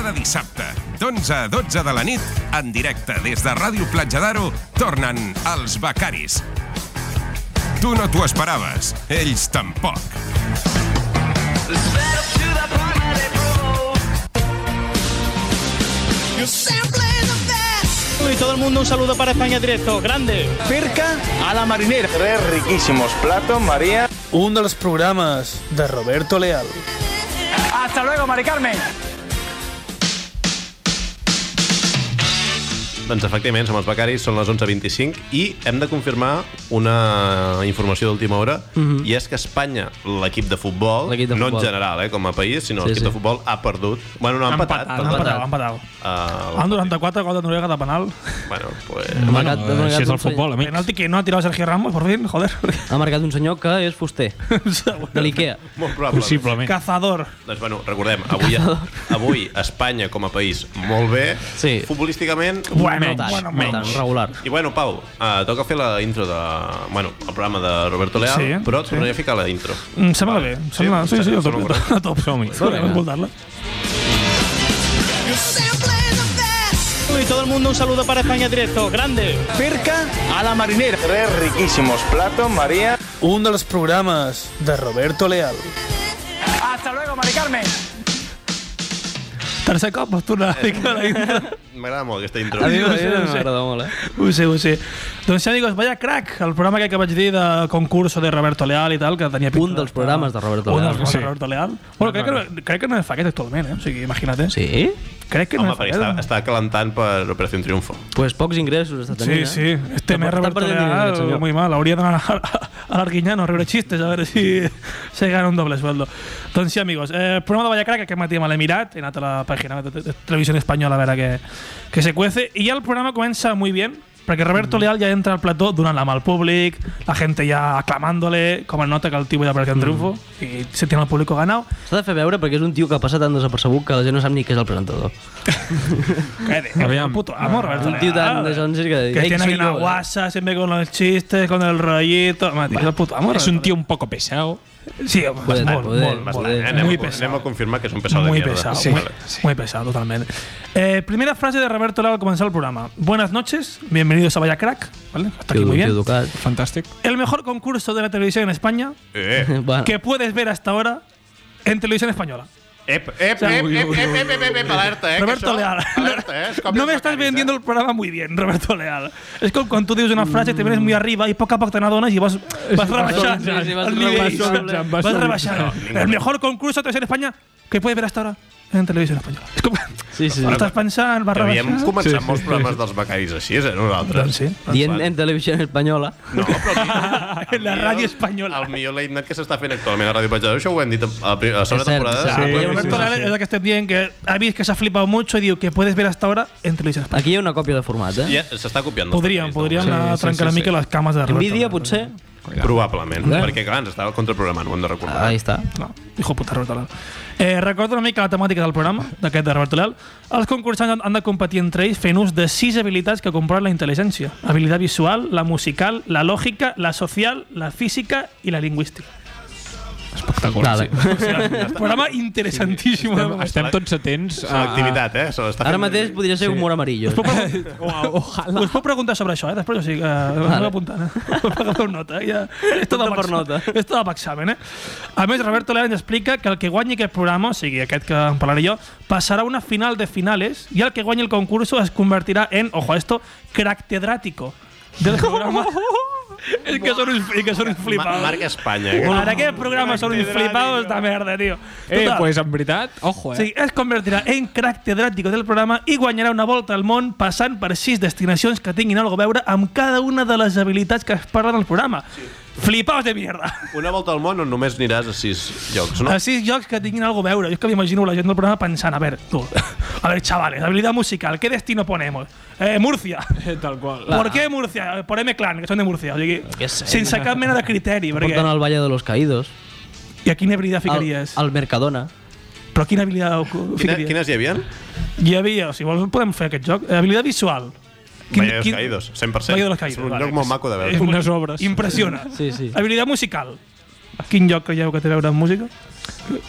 Speaker 1: 11 a 12 de la nit, en directe des de Ràdio Platja d'Aro, tornen els Becaris. Tu no t'ho esperaves, ells tampoc.
Speaker 9: Y todo el mundo un saludo para España directo, grande. Perca a la marinera.
Speaker 10: Tres riquísimos platos, María.
Speaker 4: Un dels programes de Roberto Leal.
Speaker 9: Hasta luego, Mari Carmen.
Speaker 2: Doncs efectivament, som els becaris, són les 11.25 i hem de confirmar una informació d'última hora mm -hmm. i és que Espanya, l'equip de futbol,
Speaker 6: Mhm. L'equip de
Speaker 2: no
Speaker 6: futbol.
Speaker 2: en general, eh, com a país, sinó sí,
Speaker 6: Sí,
Speaker 2: l'equip
Speaker 6: sí.
Speaker 2: de futbol ha perdut. Bueno, no, ha empatat.
Speaker 5: empatat,
Speaker 2: perdó.
Speaker 4: Han
Speaker 6: empatat.
Speaker 4: patat, han patat.
Speaker 2: Ah,
Speaker 4: El 94, gol de Noruega de penal.
Speaker 2: eh, bueno, pues...
Speaker 6: Ha
Speaker 5: Bueno, eh,
Speaker 6: marcat- ha marcat
Speaker 5: així és
Speaker 6: un
Speaker 5: el futbol, amic.
Speaker 4: Penalti que no ha tirat Sergio Ramos, por fin, joder.
Speaker 6: Ha marcat un senyor que és fuster, de l'Ikea.
Speaker 2: Molt probable.
Speaker 5: Possiblement.
Speaker 4: Cazador.
Speaker 2: Doncs, bueno, recordem, avui, avui Espanya com a país molt bé,
Speaker 6: Sí.
Speaker 2: futbolísticament...
Speaker 6: no tant,
Speaker 4: bueno,
Speaker 6: no tant, regular.
Speaker 2: I bueno, Pau, uh, toca fer la intro de, bueno, el programa de Roberto Leal,
Speaker 4: Sí,
Speaker 2: sí, però
Speaker 4: sí.
Speaker 2: tornaré a ficar la intro.
Speaker 4: Em sembla
Speaker 2: Vale.
Speaker 4: bé. em Sembla, sí, sí, sí, el top.
Speaker 2: sembla correcte.
Speaker 4: El top. Som-hi. Podem escoltar-la.
Speaker 9: Y todo el mundo un saludo para España directo, grande. Perca a la marinera.
Speaker 10: Tres riquísimos platos, María.
Speaker 4: Un dels programes de Roberto Leal.
Speaker 9: Hasta luego, Mari Carmen.
Speaker 4: Tercer cop pots tornar a ficar la intro.
Speaker 2: M'agrada molt aquesta intro.
Speaker 6: A mi
Speaker 4: no sé, no sé.
Speaker 6: m'agrada molt, eh?
Speaker 4: Ho sé, ho sé. Doncs sí, amigos, vaya crack, el programa que vaig dir de concurso de Roberto Leal i tal, que tenia pinta
Speaker 6: Un dels
Speaker 4: d'estar-
Speaker 6: programes de Roberto
Speaker 4: Un dels
Speaker 6: Leal.
Speaker 4: programes de Roberto Leal. Bueno, crec que, crec que no fa aquest actualment, eh? O sigui, imagina't, eh?
Speaker 6: Sí?
Speaker 4: Crec que
Speaker 2: Home,
Speaker 4: no fa
Speaker 2: perquè
Speaker 4: aquest. eh?
Speaker 2: està, està calentant per Operació Triunfo.
Speaker 6: Pues pocs ingressos està
Speaker 4: Sí,
Speaker 6: tenint,
Speaker 4: sí.
Speaker 6: eh?
Speaker 4: Este mes
Speaker 6: Està- està
Speaker 4: Roberto
Speaker 6: perdent diners,
Speaker 4: Leal,
Speaker 6: senyor.
Speaker 4: muy mal. Hauria d'anar a, a l'Arguinyano a riure xistes, a veure si se gana un doble sueldo. Doncs sí, amigos, eh, programa de Vallacrac, que aquest matí me l'he mirat, he anat a la pàgina de, de Televisió Espanyola a veure què, què se cuece, i ja el programa comença muy bien, perquè Roberto Leal ja entra al plató donant la mà al públic, la gente ja aclamándole, com es nota que el tio ja perquè el triunfo, i se tiene al públic ganado.
Speaker 6: S'ha de fer veure perquè és un tio que passa tan desapercebut que la gent no sap ni què és el presentador.
Speaker 4: Cállate, que
Speaker 5: Aviam.
Speaker 4: un puto amo, Roberto
Speaker 6: Un
Speaker 4: Leal.
Speaker 6: tío tan de sonses que-
Speaker 4: Que
Speaker 6: Ey,
Speaker 4: tiene
Speaker 6: soy
Speaker 4: aquí una
Speaker 6: yo, eh.
Speaker 4: guasa, siempre con los chistes, con el rollito. Mati, es el puto amo,
Speaker 5: És un
Speaker 4: Roberto
Speaker 5: tio un poco pesado.
Speaker 4: Leal. Sí, pues,
Speaker 6: Joder,
Speaker 4: molt,
Speaker 6: joder,
Speaker 4: molt, molt.
Speaker 6: joder.
Speaker 2: Eh, anem,
Speaker 4: muy
Speaker 2: a,
Speaker 4: pesado.
Speaker 2: anem a confirmar que és un pesado
Speaker 4: muy
Speaker 2: de mierda. eh,
Speaker 4: pesado,
Speaker 2: Sí.
Speaker 4: muy,
Speaker 2: Vale.
Speaker 4: muy pesado totalmente. Eh, primera frase de Roberto Leal al comenzar el programa. Buenas noches, bienvenidos a Vaya Crack, ¿vale? Hasta aquí
Speaker 6: Tio-
Speaker 4: muy
Speaker 6: tio
Speaker 4: bien.
Speaker 6: educat.
Speaker 5: Fantàstic.
Speaker 4: El mejor concurso de la televisión en España
Speaker 2: Eh,
Speaker 6: Bueno,
Speaker 4: que puedes ver hasta ahora en televisión española.
Speaker 2: eh, ep, ep, ep, ep, ep, ep, ep, ep, ep, ep, alerta, eh, que
Speaker 4: Roberto
Speaker 2: això-
Speaker 4: Leal.
Speaker 2: Alerta, eh, es copia
Speaker 4: no me
Speaker 2: els
Speaker 4: estás
Speaker 2: becaris,
Speaker 4: vendiendo
Speaker 2: eh.
Speaker 4: el programa muy bien, Roberto Leal. Es como cuando tú dices una frase, te vienes muy arriba y poco a poco te n'adones y vas, vas rebajando.
Speaker 6: sí, sí, vas
Speaker 4: el nivell.
Speaker 6: rebajando,
Speaker 4: Vas
Speaker 5: vas
Speaker 4: rebajando. El mejor concurso de televisión en España que puedes ver hasta ahora en televisión española. Es como,
Speaker 6: sí, sí.
Speaker 4: estás pensando, vas
Speaker 2: Que havíem
Speaker 4: rebajando.
Speaker 2: començat molts programes dels becaris així, eh, nosaltres.
Speaker 4: Doncs sí.
Speaker 6: Dient en televisió espanyola.
Speaker 2: No, però
Speaker 4: En la ràdio espanyola.
Speaker 2: El millor late night que s'està fent actualment a Ràdio Platja. Això ho hem dit a la pri- a la segona
Speaker 6: És cert,
Speaker 2: temporada.
Speaker 6: és cert.
Speaker 4: Y
Speaker 6: Sí,
Speaker 4: Roberto Leal es la que estés bien, que ha visto que se ha flipado mucho y digo que puedes ver hasta ahora en televisión española.
Speaker 6: Aquí hi ha una còpia de format, eh?
Speaker 2: Ja s'està copiant. dels
Speaker 4: Podríem,
Speaker 2: becaris,
Speaker 4: podríem
Speaker 5: Sí,
Speaker 4: anar
Speaker 5: sí,
Speaker 4: trencant una
Speaker 5: sí,
Speaker 4: mica
Speaker 5: sí.
Speaker 4: les cames de Roberto
Speaker 6: Nvidia,
Speaker 4: Leal.
Speaker 6: potser?
Speaker 2: Probablement,
Speaker 6: Eh?
Speaker 2: perquè clar, ens estava contraprogramant, ho hem de recordar.
Speaker 6: Ahí està.
Speaker 4: No, hijo puta Roberto Leal. Eh, recordo una mica la temàtica del programa, d'aquest de Roberto Leal. Els concursants han- han de competir entre ells fent ús de sis habilitats que comproven la intel·ligència. Habilitat visual, la musical, la lògica, la social, la física i la lingüística.
Speaker 5: Espectacular.
Speaker 6: Dale.
Speaker 5: Sí.
Speaker 4: Un programa interessantíssim. eh?
Speaker 5: Estem,
Speaker 4: Sí,
Speaker 5: estem tots atents
Speaker 2: És
Speaker 5: a...
Speaker 2: l'activitat, eh? Se l'està
Speaker 6: Ara
Speaker 2: fent-
Speaker 6: mateix podria ser humor amarillo. eh?
Speaker 5: Ojalá.
Speaker 4: Us puc preguntar sobre això, eh? Després, o sigui, que vale. apuntant, eh? Us pagareu nota, eh? Ja, és tot
Speaker 6: Nota per
Speaker 4: exa-
Speaker 6: nota.
Speaker 4: És tot per examen, eh? A més, Roberto Leal ens explica que el que guanyi aquest programa, o sigui, aquest que en parlaré jo, passarà a una final de finales i el que guanyi el concurso es convertirà en, ojo a esto, catedrático del programa. és que són uns, és que són uns
Speaker 2: Ma-
Speaker 4: flipados.
Speaker 2: Marc Espanya. eh?
Speaker 4: Ara aquest programa són uns flipados de merda, tio.
Speaker 5: Eh,
Speaker 4: Total.
Speaker 5: pues en veritat, ojo, eh?
Speaker 4: Sí, es convertirà en crack catedràtico del programa i guanyarà una volta al món passant per sis destinacions que tinguin alguna a veure amb cada una de les habilitats que es parlen al programa. Sí. Flipaos de mierda!
Speaker 2: Una volta al món on només aniràs a sis llocs, no?
Speaker 4: A sis jocs que tinguin alguna a veure. Jo és que m'imagino la gent del programa pensant, a ver, tu, a ver, chavales, habilidad musical, ¿qué destino ponemos? Eh, Murcia.
Speaker 5: Tal qual.
Speaker 4: ¿Por qué Murcia? Eh, Poneme clan, que són de Murcia. O sigui,
Speaker 6: Què sé.
Speaker 4: sense cap mena de criteri.
Speaker 6: Porten
Speaker 4: Perquè...
Speaker 6: al Valle de los Caídos.
Speaker 4: I a quina habilitat
Speaker 6: Al,
Speaker 4: ficaries?
Speaker 6: al Mercadona.
Speaker 4: Però quina habilitat ho-
Speaker 2: Quina,
Speaker 4: ficaries?
Speaker 2: quines hi havia?
Speaker 4: Hi havia, si vols podem fer aquest joc. Eh, Habilitat visual.
Speaker 2: Valle de los Caídos, 100%.
Speaker 4: Valle de los Caídos,
Speaker 2: És un
Speaker 4: vale.
Speaker 2: lloc molt maco de veure.
Speaker 4: És molt-
Speaker 5: Unes obres.
Speaker 4: Impressiona.
Speaker 6: Sí, sí.
Speaker 4: Habilitat musical. Quin lloc creieu que té a veure amb música?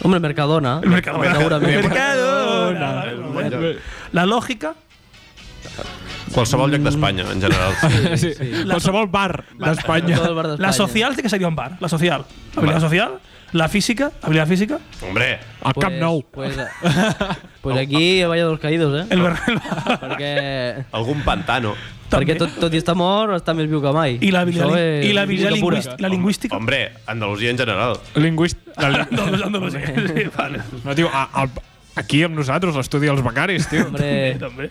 Speaker 6: Hombre, Mercadona.
Speaker 4: El Mercadona.
Speaker 6: Segurament.
Speaker 4: Mercadona.
Speaker 2: Bon lloc.
Speaker 4: La lógica
Speaker 2: Qualsevol lloc d'Espanya, en general.
Speaker 4: Sí, Qualsevol bar
Speaker 2: d'Espanya.
Speaker 4: La-
Speaker 2: Qualsevol bar d'Espanya.
Speaker 4: La social sí que seria un bar. La social. Habilidad social. La física. Habilidad física.
Speaker 2: Hombre,
Speaker 4: al Camp Nou.
Speaker 6: Pues, pues aquí el Valle dels Caídos, eh?
Speaker 4: El Bernal.
Speaker 6: Perquè,
Speaker 2: Algun pantano.
Speaker 6: perquè tot, tot i estar mort està més viu que mai.
Speaker 4: I la habilidad,
Speaker 6: Això
Speaker 4: lin-
Speaker 6: és
Speaker 4: i la habilidad
Speaker 6: música pura.
Speaker 4: lingüística. La lingüística.
Speaker 2: Hombre, Andalusia en general.
Speaker 11: Lingüist...
Speaker 4: Andalusia, Andalusia. Sí, vale.
Speaker 11: No, tio, a, al- aquí amb nosaltres, l'estudi dels becaris, tio.
Speaker 4: També, també.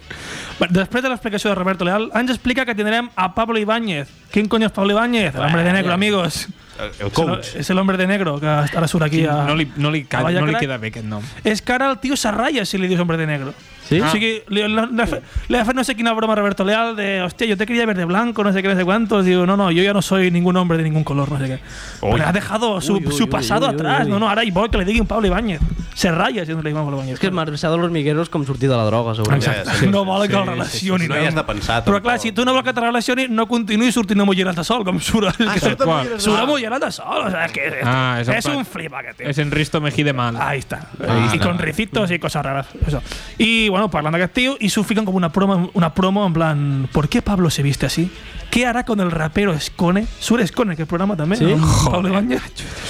Speaker 4: Va, Després de l'explicació de Roberto Leal, ens explica que tindrem a Pablo Ibáñez. ¿Quién coño es Pablo Ibáñez? El hombre de negro,
Speaker 11: Bueno.
Speaker 4: amigos.
Speaker 2: El
Speaker 4: Es el, es el hombre de negro que ahora surt aquí a...
Speaker 11: No li, no li,
Speaker 4: a
Speaker 11: cal,
Speaker 4: Vaya
Speaker 11: no li
Speaker 4: Crack.
Speaker 11: queda bé aquest nom.
Speaker 4: És que ara el tio se ratlla si li dius hombre de negro.
Speaker 11: Sí?
Speaker 4: O sigui, li, li, li, ha fet- li ha fet no sé quina broma a Roberto Leal de, hostia, yo te quería ver de blanco, no sé qué, no sé cuántos. Digo, no, no, yo ya no soy ningún hombre de ningún color, no sé qué.
Speaker 11: Uy.
Speaker 4: Pero ha dejado su,
Speaker 6: Uy, uy,
Speaker 4: su
Speaker 6: uy,
Speaker 4: pasado
Speaker 6: uy, uy,
Speaker 4: atrás.
Speaker 6: uy.
Speaker 4: No, no, ahora y voy que le diga un Pablo Ibáñez. Se raya si no le digo un Pablo Ibáñez.
Speaker 6: És que el marxador de los migueros com sortir de la droga, segurament.
Speaker 4: Exacte. Sí, no volen que el relacioni.
Speaker 2: No hi has de pensar.
Speaker 4: Però clar, si tu no vols que te relacioni, no continuï sortint amb ulleres de sol, com surt. Ah,
Speaker 11: surt amb ulleres de sol.
Speaker 4: surt amb ulleres de sol. O sea, que
Speaker 11: Ah, és el
Speaker 4: és
Speaker 11: Pat.
Speaker 4: un flipa, aquest tio.
Speaker 5: Es Enristo Mejide Mal.
Speaker 4: Ahí está. y con ricitos y cosas raras. Eso. Y bueno, pues hablando de tío, y sufican como una promo, una promo en plan, ¿por qué Pablo se viste así? ¿Qué hará con el rapero Escone? Sur Escone, que el programa también,
Speaker 2: Sí.
Speaker 4: ¿no?
Speaker 2: Joder.
Speaker 4: Pablo Ibáñez.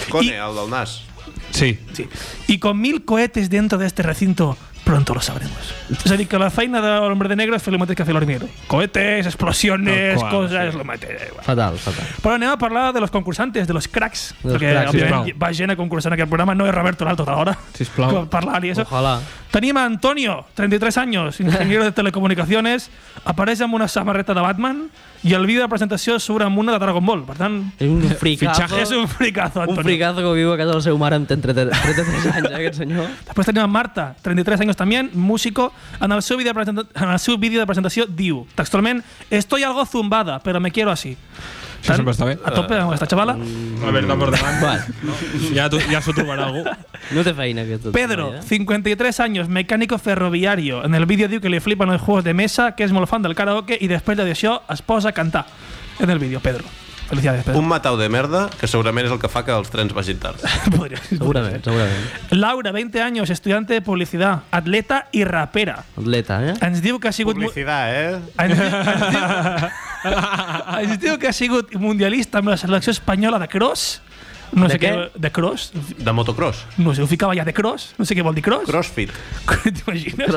Speaker 2: Cone, el del nas.
Speaker 11: Sí.
Speaker 4: sí. Y con mil cohetes dentro de este recinto, pronto lo sabremos. O sea, que la faena del hombre de negro es lo mismo que hace el hormiguero. Cohetes, explosiones,
Speaker 6: Tal cual,
Speaker 4: cosas,
Speaker 6: sí.
Speaker 4: lo mate, da igual.
Speaker 6: Fatal, fatal.
Speaker 4: Però anem a parlar de los concursantes, de los cracks,
Speaker 6: Dels
Speaker 4: perquè
Speaker 6: cracks,
Speaker 4: òbviament
Speaker 6: sisplau.
Speaker 4: va gent a concursar en aquest programa, no és Roberto Lalto tota hora.
Speaker 5: Sisplau.
Speaker 4: Com Parlar i això.
Speaker 6: Ojalá.
Speaker 4: Tenim a Antonio, 33 anys, ingeniero de telecomunicaciones, apareix amb una samarreta de Batman i el vídeo de presentació surt amb una de Dragon Ball. Per tant,
Speaker 6: És un fricazo.
Speaker 4: Fitxaje. És un fricazo,
Speaker 6: Un
Speaker 4: Antonio.
Speaker 6: fricazo que viu a casa del seu mare amb 33 33 anys, eh, aquest senyor.
Speaker 4: Després tenim a Marta, 33 anys també, músico. En el seu vídeo de, presenta en el seu vídeo de presentació diu, textualment, «Estoy algo zumbada, pero me quiero así».
Speaker 11: Això sempre està bé. Eh,
Speaker 4: A tope amb aquesta xavala.
Speaker 11: A veure, no por davant.
Speaker 6: Vale.
Speaker 11: Ja, tu- ja s'ho trobarà algú.
Speaker 6: No té feina, aquest. eh.
Speaker 4: Pedro, 53 años, mecánico ferroviario. En el vídeo diu que li flipan els juegos de mesa, que és molt fan del karaoke i després de això es posa a cantar. En el vídeo, Pedro. Felicidades, Pedro.
Speaker 2: Un matau de merda que segurament és el que fa que els trens vagin tard.
Speaker 6: Segurament, segurament.
Speaker 4: Laura, 20 años, estudiante de publicidad, atleta i rapera.
Speaker 6: Atleta, eh?
Speaker 4: Ens diu que ha sigut...
Speaker 2: Publicitat, eh?
Speaker 4: Ens diu, ens, diu, ens diu que ha sigut mundialista amb la selecció espanyola de cross. No
Speaker 2: De
Speaker 4: sé què?
Speaker 2: què?
Speaker 4: De cross.
Speaker 2: De motocross.
Speaker 4: No sé, ho ficava ja de cross. No sé què vol dir cross.
Speaker 2: Crossfit.
Speaker 4: T'imagines?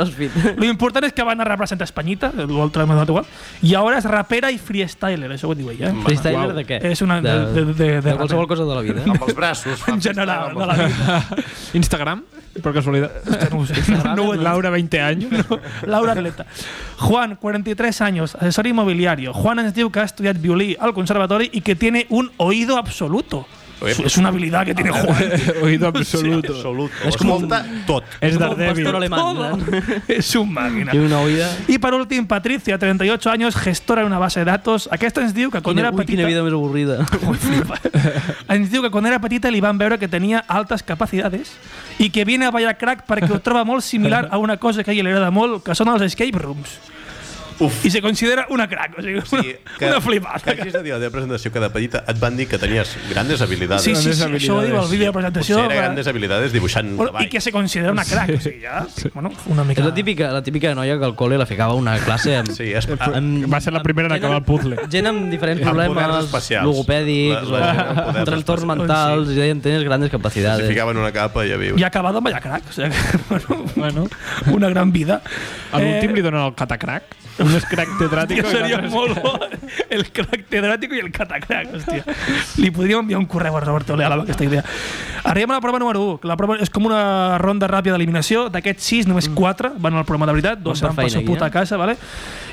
Speaker 4: Lo important és que van a representar Espanyita, l'altre m'ha donat igual, i ara és rapera i freestyler, això ho diu ella. Eh?
Speaker 6: Freestyler de què?
Speaker 4: És una... De, de, de, de,
Speaker 6: de qualsevol cosa de la vida.
Speaker 2: Amb els braços.
Speaker 4: En general, de la vida.
Speaker 11: Instagram, per casualitat.
Speaker 4: No ho sé. No ho he dit.
Speaker 11: Laura, 20 anys.
Speaker 4: No, Laura Atleta. Juan, 43 años, asesor inmobiliario. Juan ens diu que ha estudiat violí al conservatori i que tiene un oído absoluto. Es es una habilidad que tiene Juan.
Speaker 11: Oído absoluto.
Speaker 2: Absoluto.
Speaker 11: És com un-
Speaker 2: tot.
Speaker 11: És
Speaker 4: Como un
Speaker 11: Daredevil.
Speaker 4: pastor alemán,
Speaker 11: Todo.
Speaker 6: eh.
Speaker 4: ¿no? Es un máquina.
Speaker 6: Tiene una oïda.
Speaker 4: Y per últim, Patricia, 38 anys, gestora d'una base de datos. Aquesta ens diu que quan
Speaker 6: Quina,
Speaker 4: era
Speaker 6: ui, quina
Speaker 4: petita...
Speaker 6: vida més avorrida.
Speaker 4: ens diu que quan era petita li van veure que tenia altes capacitats i que viene a ballar crack perquè ho troba molt similar a una cosa que a ell li agrada molt, que són els escape rooms. Uf. I se considera una crack, o sigui, una, sí, que,
Speaker 2: Que
Speaker 4: una flipada.
Speaker 2: hagis de dir a la teva presentació que de petita et van dir que tenies grandes habilitats.
Speaker 4: Sí, sí, sí, això ho diu el vídeo de
Speaker 2: Potser
Speaker 4: presentació.
Speaker 2: era
Speaker 4: va-
Speaker 2: grandes habilitats dibuixant
Speaker 4: Bueno, I
Speaker 2: cavall.
Speaker 4: que se considera una crack, o sigui, ja, bueno, una
Speaker 6: És
Speaker 4: mica...
Speaker 6: la típica, la típica noia que al col·le la ficava a una classe amb,
Speaker 2: Sí, es,
Speaker 6: amb
Speaker 11: Va ser la primera
Speaker 6: em
Speaker 11: en acabar el puzzle.
Speaker 6: gent amb diferents
Speaker 2: Amb poders
Speaker 6: problemes
Speaker 2: especials.
Speaker 6: logopèdics,
Speaker 2: La- la gent amb poders
Speaker 6: trastorns
Speaker 2: especials.
Speaker 6: mentals, i deien, tens grandes
Speaker 2: Si
Speaker 6: capacidades.
Speaker 2: ficaven una capa i ja viu.
Speaker 4: I ha acabat amb ballar crack, o sigui, que, bueno,
Speaker 11: Bueno,
Speaker 4: una gran vida.
Speaker 11: a l'últim
Speaker 4: Eh,
Speaker 11: li donen el catacrac. Un és crac tetràtic.
Speaker 4: Hòstia, seria molt bo el crack tedràtico i el catacrac, hòstia. Li podríem enviar un correu a Roberto Leal amb aquesta idea. Arribem a la prova número 1, que la prova és com una ronda ràpida d'eliminació. D'aquests 6, només 4 van al programa de veritat, dos
Speaker 6: Mm. Molta
Speaker 4: van per
Speaker 6: feina
Speaker 4: su
Speaker 6: aquí,
Speaker 4: puta
Speaker 6: eh?
Speaker 4: casa, vale?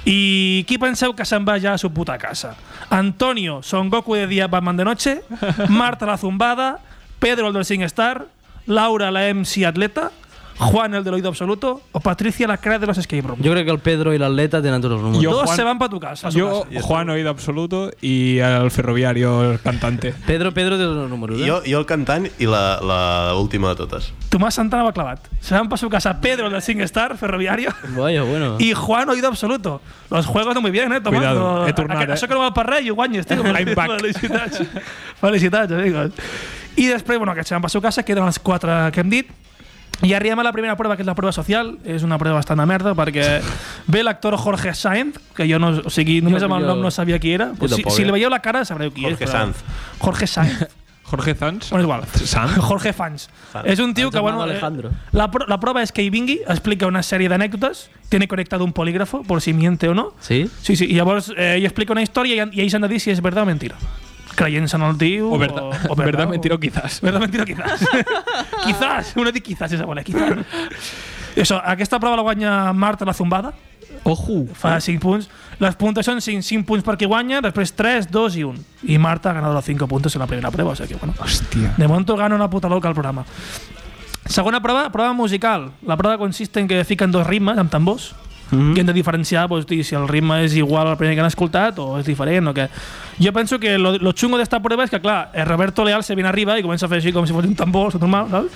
Speaker 4: I qui penseu que se'n va ja a su puta casa? Antonio, Son Goku de dia, Batman de noche, Marta la zumbada, Pedro el del 5 Star, Laura la MC atleta, Juan el del oído absoluto o Patricia la crack de los escape rooms.
Speaker 6: Jo crec que el Pedro i l'atleta tenen tots els números.
Speaker 11: Jo,
Speaker 4: Dos
Speaker 11: Juan-
Speaker 4: se van para tu casa. a su
Speaker 11: Jo,
Speaker 4: casa.
Speaker 11: Juan Oído Absoluto i el ferroviario, el cantante.
Speaker 6: Pedro, Pedro té els números, eh?
Speaker 2: Jo, jo el cantant i la, la última de totes.
Speaker 4: Tomás Santana va clavat. Se van para su casa Pedro, el del 5 Star, ferroviario,
Speaker 6: Vaya, bueno.
Speaker 4: y Juan, oído absoluto. Los juegos no muy bien, ¿eh, Tomás?
Speaker 11: Cuidado,
Speaker 4: no,
Speaker 11: he tornat,
Speaker 4: aquest-
Speaker 11: eh?
Speaker 4: Això que no va per res, i ho guanyes, tio.
Speaker 11: I'm back.
Speaker 4: Felicitats. Felicitats, amigos. I després, bueno, que se van per su casa, queden els quatre que hem dit, I arribem a la primera prova, que és la prova social. És una prova bastant de merda, perquè ve l'actor Jorge Sáenz, que jo no... O sigui, només amb el nom no sabia qui era. Pues Si,
Speaker 2: tampoc,
Speaker 4: si li
Speaker 2: eh.
Speaker 4: veieu la cara sabreu qui
Speaker 2: Jorge
Speaker 4: és.
Speaker 2: Sanz.
Speaker 4: Jorge Sáenz.
Speaker 5: Jorge Sanz.
Speaker 4: Bueno, és igual. Jorge Fans.
Speaker 2: Sanz.
Speaker 4: És un tio
Speaker 6: El
Speaker 4: que, bueno,
Speaker 6: llamado
Speaker 4: eh,
Speaker 6: Alejandro.
Speaker 4: la, pro- la prueba es que Ibingui explica una sèrie d'anècdotes, tiene conectado un polígrafo, por si miente o no.
Speaker 6: Sí?
Speaker 4: Sí, sí, i llavors eh, ell explica una història i, i ells han de dir si és verdad o mentira. Creient-se en el tio...
Speaker 5: O verdad-
Speaker 4: oh,
Speaker 5: verdad, mentira o
Speaker 4: quizás. Verdad, mentira o quizás. quizás, una diu quizás, esa bola, quizás. Això, aquesta prova la guanya Marta la Zumbada,
Speaker 5: Ojo.
Speaker 4: fa 5 punts. Les puntuacions són 5, 5 punts per qui guanya, després 3, 2 i 1. I Marta ha ganat los 5 puntos en la primera prova, o sigui que, bueno.
Speaker 5: Hòstia.
Speaker 4: De momento gana una puta loca el programa. Segona prova, prova musical. La prova consiste en que fiquen dos ritmes amb tambors
Speaker 6: Mm-hmm.
Speaker 4: mm -hmm. i hem de diferenciar doncs, dir, si el ritme és igual al primer que han escoltat o és diferent o què. Jo penso que lo, lo chungo d'esta prova és que, clar, el Roberto Leal se viene arriba i comença a fer així com si fos un tambor, això normal, saps?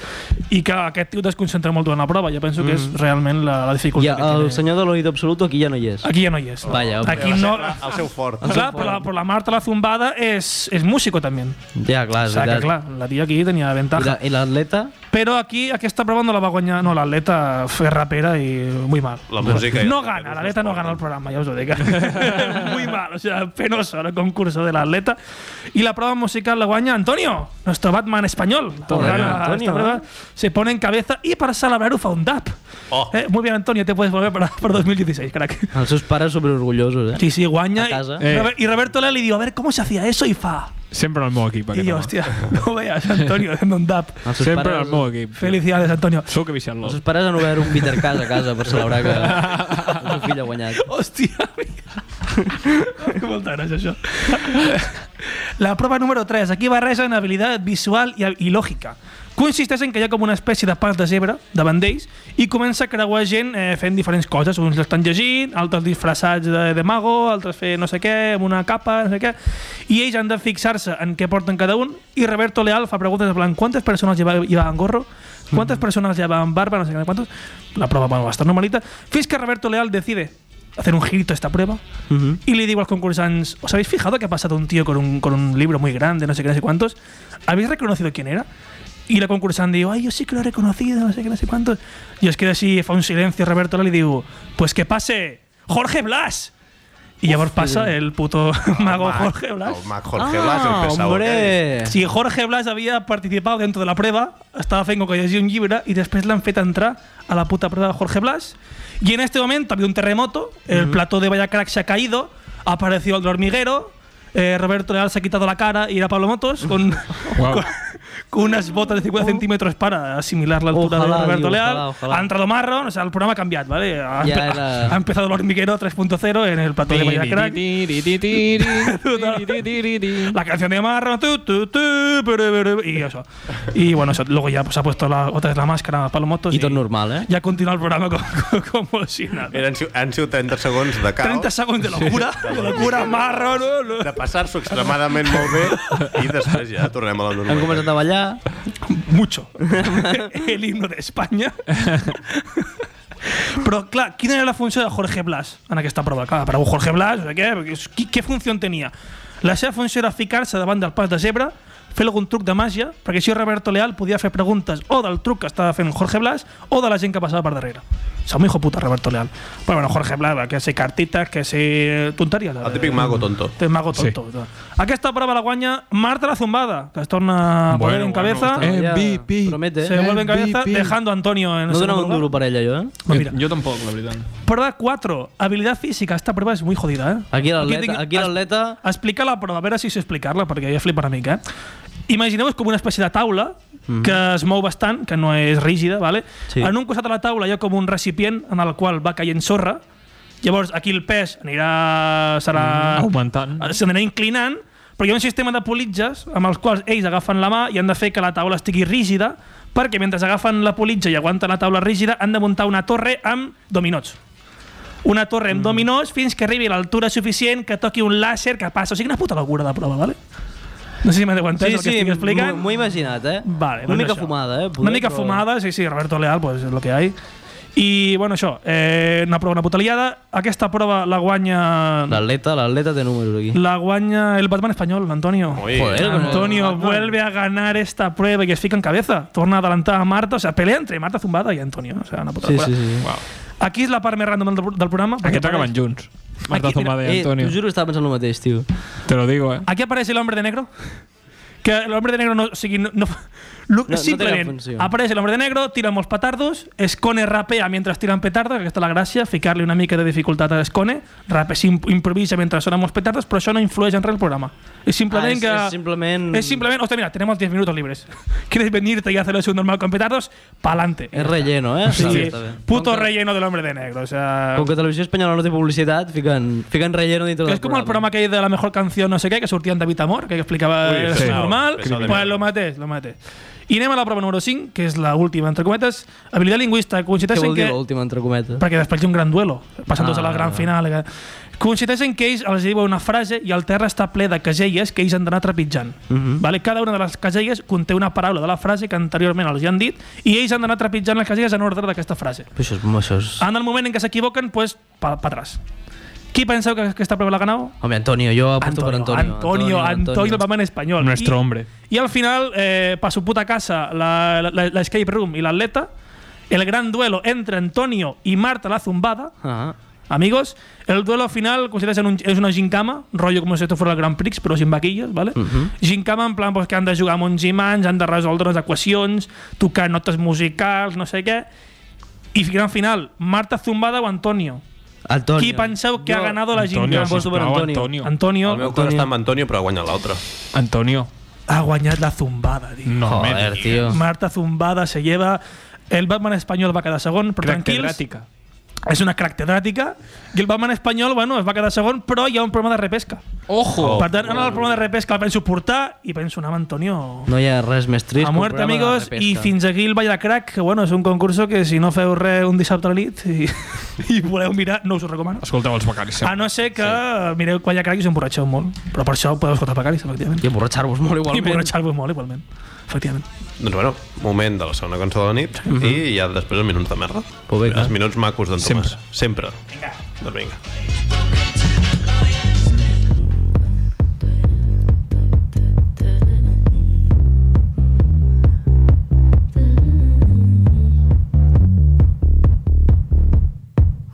Speaker 4: I que aquest tio desconcentra molt durant la prova. Jo penso mm -hmm. que és realment la, la
Speaker 2: Pues
Speaker 6: I
Speaker 4: dificultat que
Speaker 6: el
Speaker 4: tiene.
Speaker 6: senyor de l'oído absoluto aquí ja no hi és.
Speaker 4: Aquí ja no hi és.
Speaker 6: Vaya, hombre.
Speaker 4: Aquí no...
Speaker 2: El seu fort.
Speaker 4: Clar, però la, però la Marta la zumbada és, és músico també.
Speaker 6: Ja,
Speaker 4: O
Speaker 6: clar, és
Speaker 4: sigui que,
Speaker 6: veritat.
Speaker 4: clar, la tia aquí tenia
Speaker 6: I
Speaker 4: ventaja.
Speaker 6: la- I l'atleta?
Speaker 4: Però aquí aquesta prova no la va guanyar, no, l'atleta és rapera i muy mal.
Speaker 2: La música i
Speaker 4: No
Speaker 2: els
Speaker 4: gana,
Speaker 2: raperos
Speaker 4: l'atleta no gana el programa, ja us ho dic. muy mal, o sea, penoso el concurso de l'atleta. I la prova musical la guanya Antonio, nuestro Batman español. Gana esta
Speaker 6: Antonio,
Speaker 4: prueba, Se pone en cabeza y para celebrarlo fa un dap.
Speaker 2: Oh.
Speaker 4: Eh, muy bien, Antonio, te puedes volver para, para 2016, crack.
Speaker 6: Els seus pares superorgullosos, eh?
Speaker 4: Sí, sí, guaña.
Speaker 6: A casa.
Speaker 4: Y, Robe- y Roberto Leal le digo, a ver, ¿cómo se hacía eso? Y fa.
Speaker 11: Sempre en el meu equip, aquest
Speaker 4: Y yo,
Speaker 11: home.
Speaker 4: hostia, no veas, Antonio, haciendo un dap.
Speaker 6: Els seus
Speaker 11: Sempre en
Speaker 6: pares,
Speaker 11: el meu equip.
Speaker 4: Felicidades, Antonio.
Speaker 11: Sóc evitant-lo.
Speaker 6: els seus pares han obert un bitter cas a casa per celebrar que el seu fill ha guanyat.
Speaker 4: Hòstia, mira. Molta gràcia, això. La prova número 3. Aquí barregen habilitat visual i, i lògica. Consisteix en que hi ha com una espècie de pas de zebra davant d'ells i comença a creuar gent eh, fent diferents coses. Uns l'estan llegint, altres disfressats de, de mago, altres fer no sé què, amb una capa, no sé què. I ells han de fixar-se en què porten cada un i Roberto Leal fa preguntes en plan quantes persones lleva, llevaven gorro, quantes persones llevaven barba, no sé què, quantos. La prova va bastant normalita. Fins que Roberto Leal decide hacer un girito a esta prueba y le digo a los concursantes, ¿os habéis fijado que ha pasado un tío con un, con un libro muy grande, no sé qué, no sé cuántos? ¿Habéis reconocido quién era? Y la concursante digo, ay, yo sí que lo he reconocido, no sé qué, no sé cuántos. Y os quedo así, fue un silencio, Roberto, le digo, pues que pase Jorge Blas. Y ya os pasa el puto mago Jorge Blas.
Speaker 2: Ah, El mag Jorge Blas, el
Speaker 6: Ah,
Speaker 2: pesado.
Speaker 6: hombre!
Speaker 4: Si Jorge Blas havia participat dentro de la preva, estava fent com que llegia un llibre i després l'han fet entrar a la puta preva de Jorge Blas. Y en este momento ha habido un terremoto, el plató de Vallacrack se ha caído, ha aparecido el del hormiguero, eh, Roberto Leal se ha quitado la cara y era Pablo Motos con, con, con unas botas de 50 centímetros para asimilar la altura
Speaker 6: Oh. Ojalá,
Speaker 4: de Roberto
Speaker 6: digo,
Speaker 4: Leal.
Speaker 6: ojalá, ojalá.
Speaker 4: Ha entrado Marron, o sea, el programa ha cambiado, ¿vale? Ha,
Speaker 6: Ya
Speaker 4: empe-
Speaker 6: era-
Speaker 4: ha empezado el hormiguero 3.0 en el plató de Vallacrack.
Speaker 5: La
Speaker 4: La canción de Marro, tu, tu, tu, puru, puru, y eso. Y bueno, eso. Luego ya pues, ha puesto la, otra vez la máscara Pablo Motos.
Speaker 6: I tot normal, eh?
Speaker 4: Ya continúa el programa como, como, como si nada.
Speaker 2: Eren, si- han sigut 30 segons de caos.
Speaker 4: 30 segons de locura, de locura, Marro. No, no.
Speaker 2: de passar-s'ho extremadament molt bé i després ja tornem a la
Speaker 6: Han
Speaker 2: normalitat.
Speaker 6: començat a ballar.
Speaker 4: Mucho. El himno de España. Pero claro, ¿quién era la función de Jorge Blas en aquesta prova? Clar, para Jorge Blas, o sigui, què, qui- què funció tenia? La seva funció era ficar-se davant del pas de zebra, fer algun truc de màgia, perquè així Roberto Leal podia fer preguntes o del truc que estava fent Jorge Blas o de la gent que passava per darrere. O sigui, un hijo puta Roberto Leal. Però bueno, Jorge Blas, va, que si cartitas, que si tonteries.
Speaker 2: El típic mago tonto.
Speaker 4: Té mago tonto. Sí. Aquesta prova la guanya Marta la Zumbada, que es torna a poner en cabeza.
Speaker 11: Eh,
Speaker 6: Ja
Speaker 11: MVP.
Speaker 6: Promete. eh?
Speaker 4: Se vuelve en cabeza
Speaker 11: MVP.
Speaker 4: dejando a Antonio en
Speaker 6: No
Speaker 4: el
Speaker 6: donava
Speaker 4: segundo
Speaker 6: un
Speaker 4: lugar.
Speaker 6: duro per ella, jo, eh?
Speaker 4: Pues mira,
Speaker 11: Jo tampoc, la veritat.
Speaker 4: prueba 4. Habilidad física. Esta prueba es muy jodida, ¿eh?
Speaker 6: Aquí l'atleta...
Speaker 4: tinc-
Speaker 6: Aquí l'atleta...
Speaker 4: es- Explica la prova, a veure si sé explicar-la, perquè ja flipa una mica, eh? Imagineu-vos com una espècie de taula que es mou bastant, que no és rígida, ¿vale?
Speaker 6: Sí.
Speaker 4: En un costat de la taula hi ha com un recipient en el qual va caient sorra, Llavors, aquí el pes anirà... Serà...
Speaker 5: Augmentant.
Speaker 4: S'anirà inclinant, però hi ha un sistema de politges amb els quals ells agafen la mà i han de fer que la taula estigui rígida, perquè mentre agafen la politja i aguanten la taula rígida, han de muntar una torre amb dominots. Una torre
Speaker 6: Mm.
Speaker 4: amb dominós fins que arribi a l'altura suficient que toqui un làser que passa. O sigui, una puta locura de prova, ¿vale? No sé si m'heu entès
Speaker 6: Sí,
Speaker 4: el que
Speaker 6: sí,
Speaker 4: estic explicant.
Speaker 6: m'ho m'ho he imaginat, eh?
Speaker 4: Vale,
Speaker 6: Una
Speaker 4: doncs
Speaker 6: mica
Speaker 4: això.
Speaker 6: fumada, eh? Poder,
Speaker 4: Una mica
Speaker 6: però-
Speaker 4: fumada, sí, sí, Roberto Leal, pues es lo que hay. I, bueno, això, eh, una prova, una puta liada. Aquesta prova la guanya...
Speaker 6: L'atleta, l'atleta té números aquí.
Speaker 4: La guanya el Batman espanyol, Antonio.
Speaker 6: Joder, con el
Speaker 4: Antonio vuelve a ganar esta prueba y que es fica en cabeza. Torna a adelantar a Marta. O sea, pelea entre Marta Zumbada y Antonio. O sea, una puta
Speaker 5: Sí,
Speaker 4: locura.
Speaker 5: sí, sí. Wow.
Speaker 4: Aquí és la part més random del, del programa. perquè
Speaker 5: Aquest acaben
Speaker 4: apareix-
Speaker 5: junts. Marta Zumbada i
Speaker 4: eh,
Speaker 5: Antonio.
Speaker 4: t'ho juro,
Speaker 6: estava pensant el mateix, tio.
Speaker 5: Te lo digo, eh.
Speaker 4: Aquí aparece el hombre de negro. Que el hombre de negro no... O sigui, no, no, lo-
Speaker 6: No, no té cap
Speaker 4: simplement
Speaker 6: funció.
Speaker 4: aparece el hombre de negro, tira molts petardos, Escone rapea mentre tiren petardos, que aquesta és la gràcia, ficar-li una mica de dificultat a Escone, rape s'im- improvisa mentre sonen molts petardos, però això no influeix en res el programa. És simplement
Speaker 6: Ah, és-
Speaker 4: que...
Speaker 6: és simplement-
Speaker 4: És simplement... Hostia, mira, tenemos 10 minutos libres. ¿Quieres venirte y hacer lo normal con petardos? Pa'lante.
Speaker 6: És relleno, eh?
Speaker 4: O sigui,
Speaker 6: Està bé, està bé.
Speaker 4: puto relleno del hombre de negro. O sea...
Speaker 6: Com que Televisió Espanyola no té publicitat, fiquen, fiquen relleno dintre
Speaker 4: Que
Speaker 6: del
Speaker 4: es como el programa que hay de la mejor canción no sé qué, que sortia en David Amor, que explicava
Speaker 6: Ui,
Speaker 4: el
Speaker 6: sí.
Speaker 4: normal,
Speaker 6: Pesado de
Speaker 4: pues
Speaker 6: mierda.
Speaker 4: lo mates, lo mates. I anem a la prova número 5, que és la última, entre cometes. Habilitat lingüista,
Speaker 6: Què
Speaker 4: coincideix en
Speaker 6: vol dir
Speaker 4: que...
Speaker 6: l'última, entre cometes?
Speaker 4: Perquè després hi ha un gran duelo, passant tots a la
Speaker 6: Ah.
Speaker 4: gran final. Que... Coincideix en que ells els diuen una frase i el terra està ple de caselles que ells han d'anar trepitjant.
Speaker 6: Mhm.
Speaker 4: Vale? Cada una de les caselles conté una paraula de la frase que anteriorment els hi han dit i ells han d'anar trepitjant les caselles en ordre d'aquesta frase.
Speaker 6: Però això és... Això és...
Speaker 4: En el moment en què s'equivoquen, pues, pa, pa atrás. Qui penseu que aquesta prova la ha ganado?
Speaker 6: Home, Antonio, jo apunto per Antonio.
Speaker 4: Antonio, Antonio, el Batman español.
Speaker 5: Nuestro
Speaker 4: Y-
Speaker 5: hombre.
Speaker 4: Y al final, eh, para su puta casa, la, la- la- la escape room y la atleta, el gran duelo entre Antonio y Marta la zumbada.
Speaker 6: Ah.
Speaker 4: Amigos, el duelo final consideras en un- es una gincama, rollo como si esto fuera el Grand Prix, pero sin vaquillas, ¿vale?
Speaker 6: Mhm.
Speaker 4: Gincama en plan pues, que han de jugar amb uns imants, han de resoldre unes equacions, tocar notes musicals, no sé què. I gran final, Marta Zumbada o Antonio?
Speaker 6: Antonio.
Speaker 4: Qui penseu que ha ganado la
Speaker 5: Antonio,
Speaker 4: gincama?
Speaker 5: sisplau, Aposto per Antonio. Antonio.
Speaker 4: Antonio.
Speaker 2: El meu cor està amb Antonio, però ha guanyat l'altre.
Speaker 5: Antonio.
Speaker 4: ha guanyat la zumbada, tio.
Speaker 5: No Joder, me digues. tio.
Speaker 4: Marta Zumbada se lleva... El Batman espanyol va quedar segon, però tranquils.
Speaker 5: Catedràtica.
Speaker 4: És una catedràtica. I el Batman espanyol, bueno, es va quedar segon, però hi ha un problema de repesca.
Speaker 5: Ojo!
Speaker 4: Per tant, ara el problema de repesca el penso portar i penso anar amb Antonio
Speaker 6: No hi ha res més trist.
Speaker 4: a
Speaker 6: que un
Speaker 4: muerte,
Speaker 6: programa de
Speaker 4: amigos.
Speaker 6: repesca.
Speaker 4: I fins aquí el Ball de Crack, que bueno, és un concurso que si no feu res un dissabte a la nit i, i voleu mirar, no us ho recomano.
Speaker 5: Escolteu els becaris.
Speaker 4: A no ser que sí. mireu Ball de Crack i us emborratxeu molt. Però per això podeu escoltar Pecaris, efectivament.
Speaker 6: I emborratxar-vos molt
Speaker 4: I
Speaker 6: igualment.
Speaker 4: emborratxar-vos molt igualment. Efectivament.
Speaker 2: Doncs bueno, moment de la segona cançó de la nit i ja després els minuts de merda. els minuts macos d'en Tomàs. Sempre. Vinga. Doncs vinga.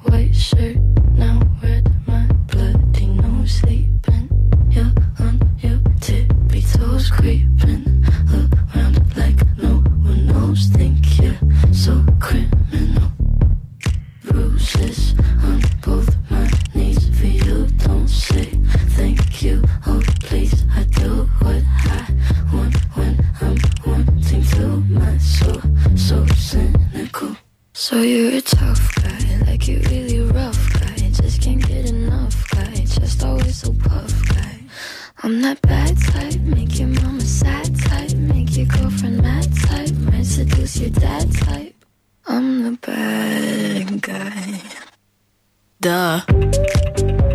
Speaker 12: White shirt, now red, my bloody nose sleeping. You're on your tippy toes, creeping around like no one knows. Think you're so criminal. Bruises on both my knees for you. Don't say thank you. Oh, please, I do what I want when I'm wanting to. My soul, so cynical. So you're a tough guy, like you really rough guy. Just can't get enough guy, just always so puff guy. I'm that bad type, make your mama sad type, make your girlfriend mad type, might seduce your dad type. I'm the bad guy. Duh.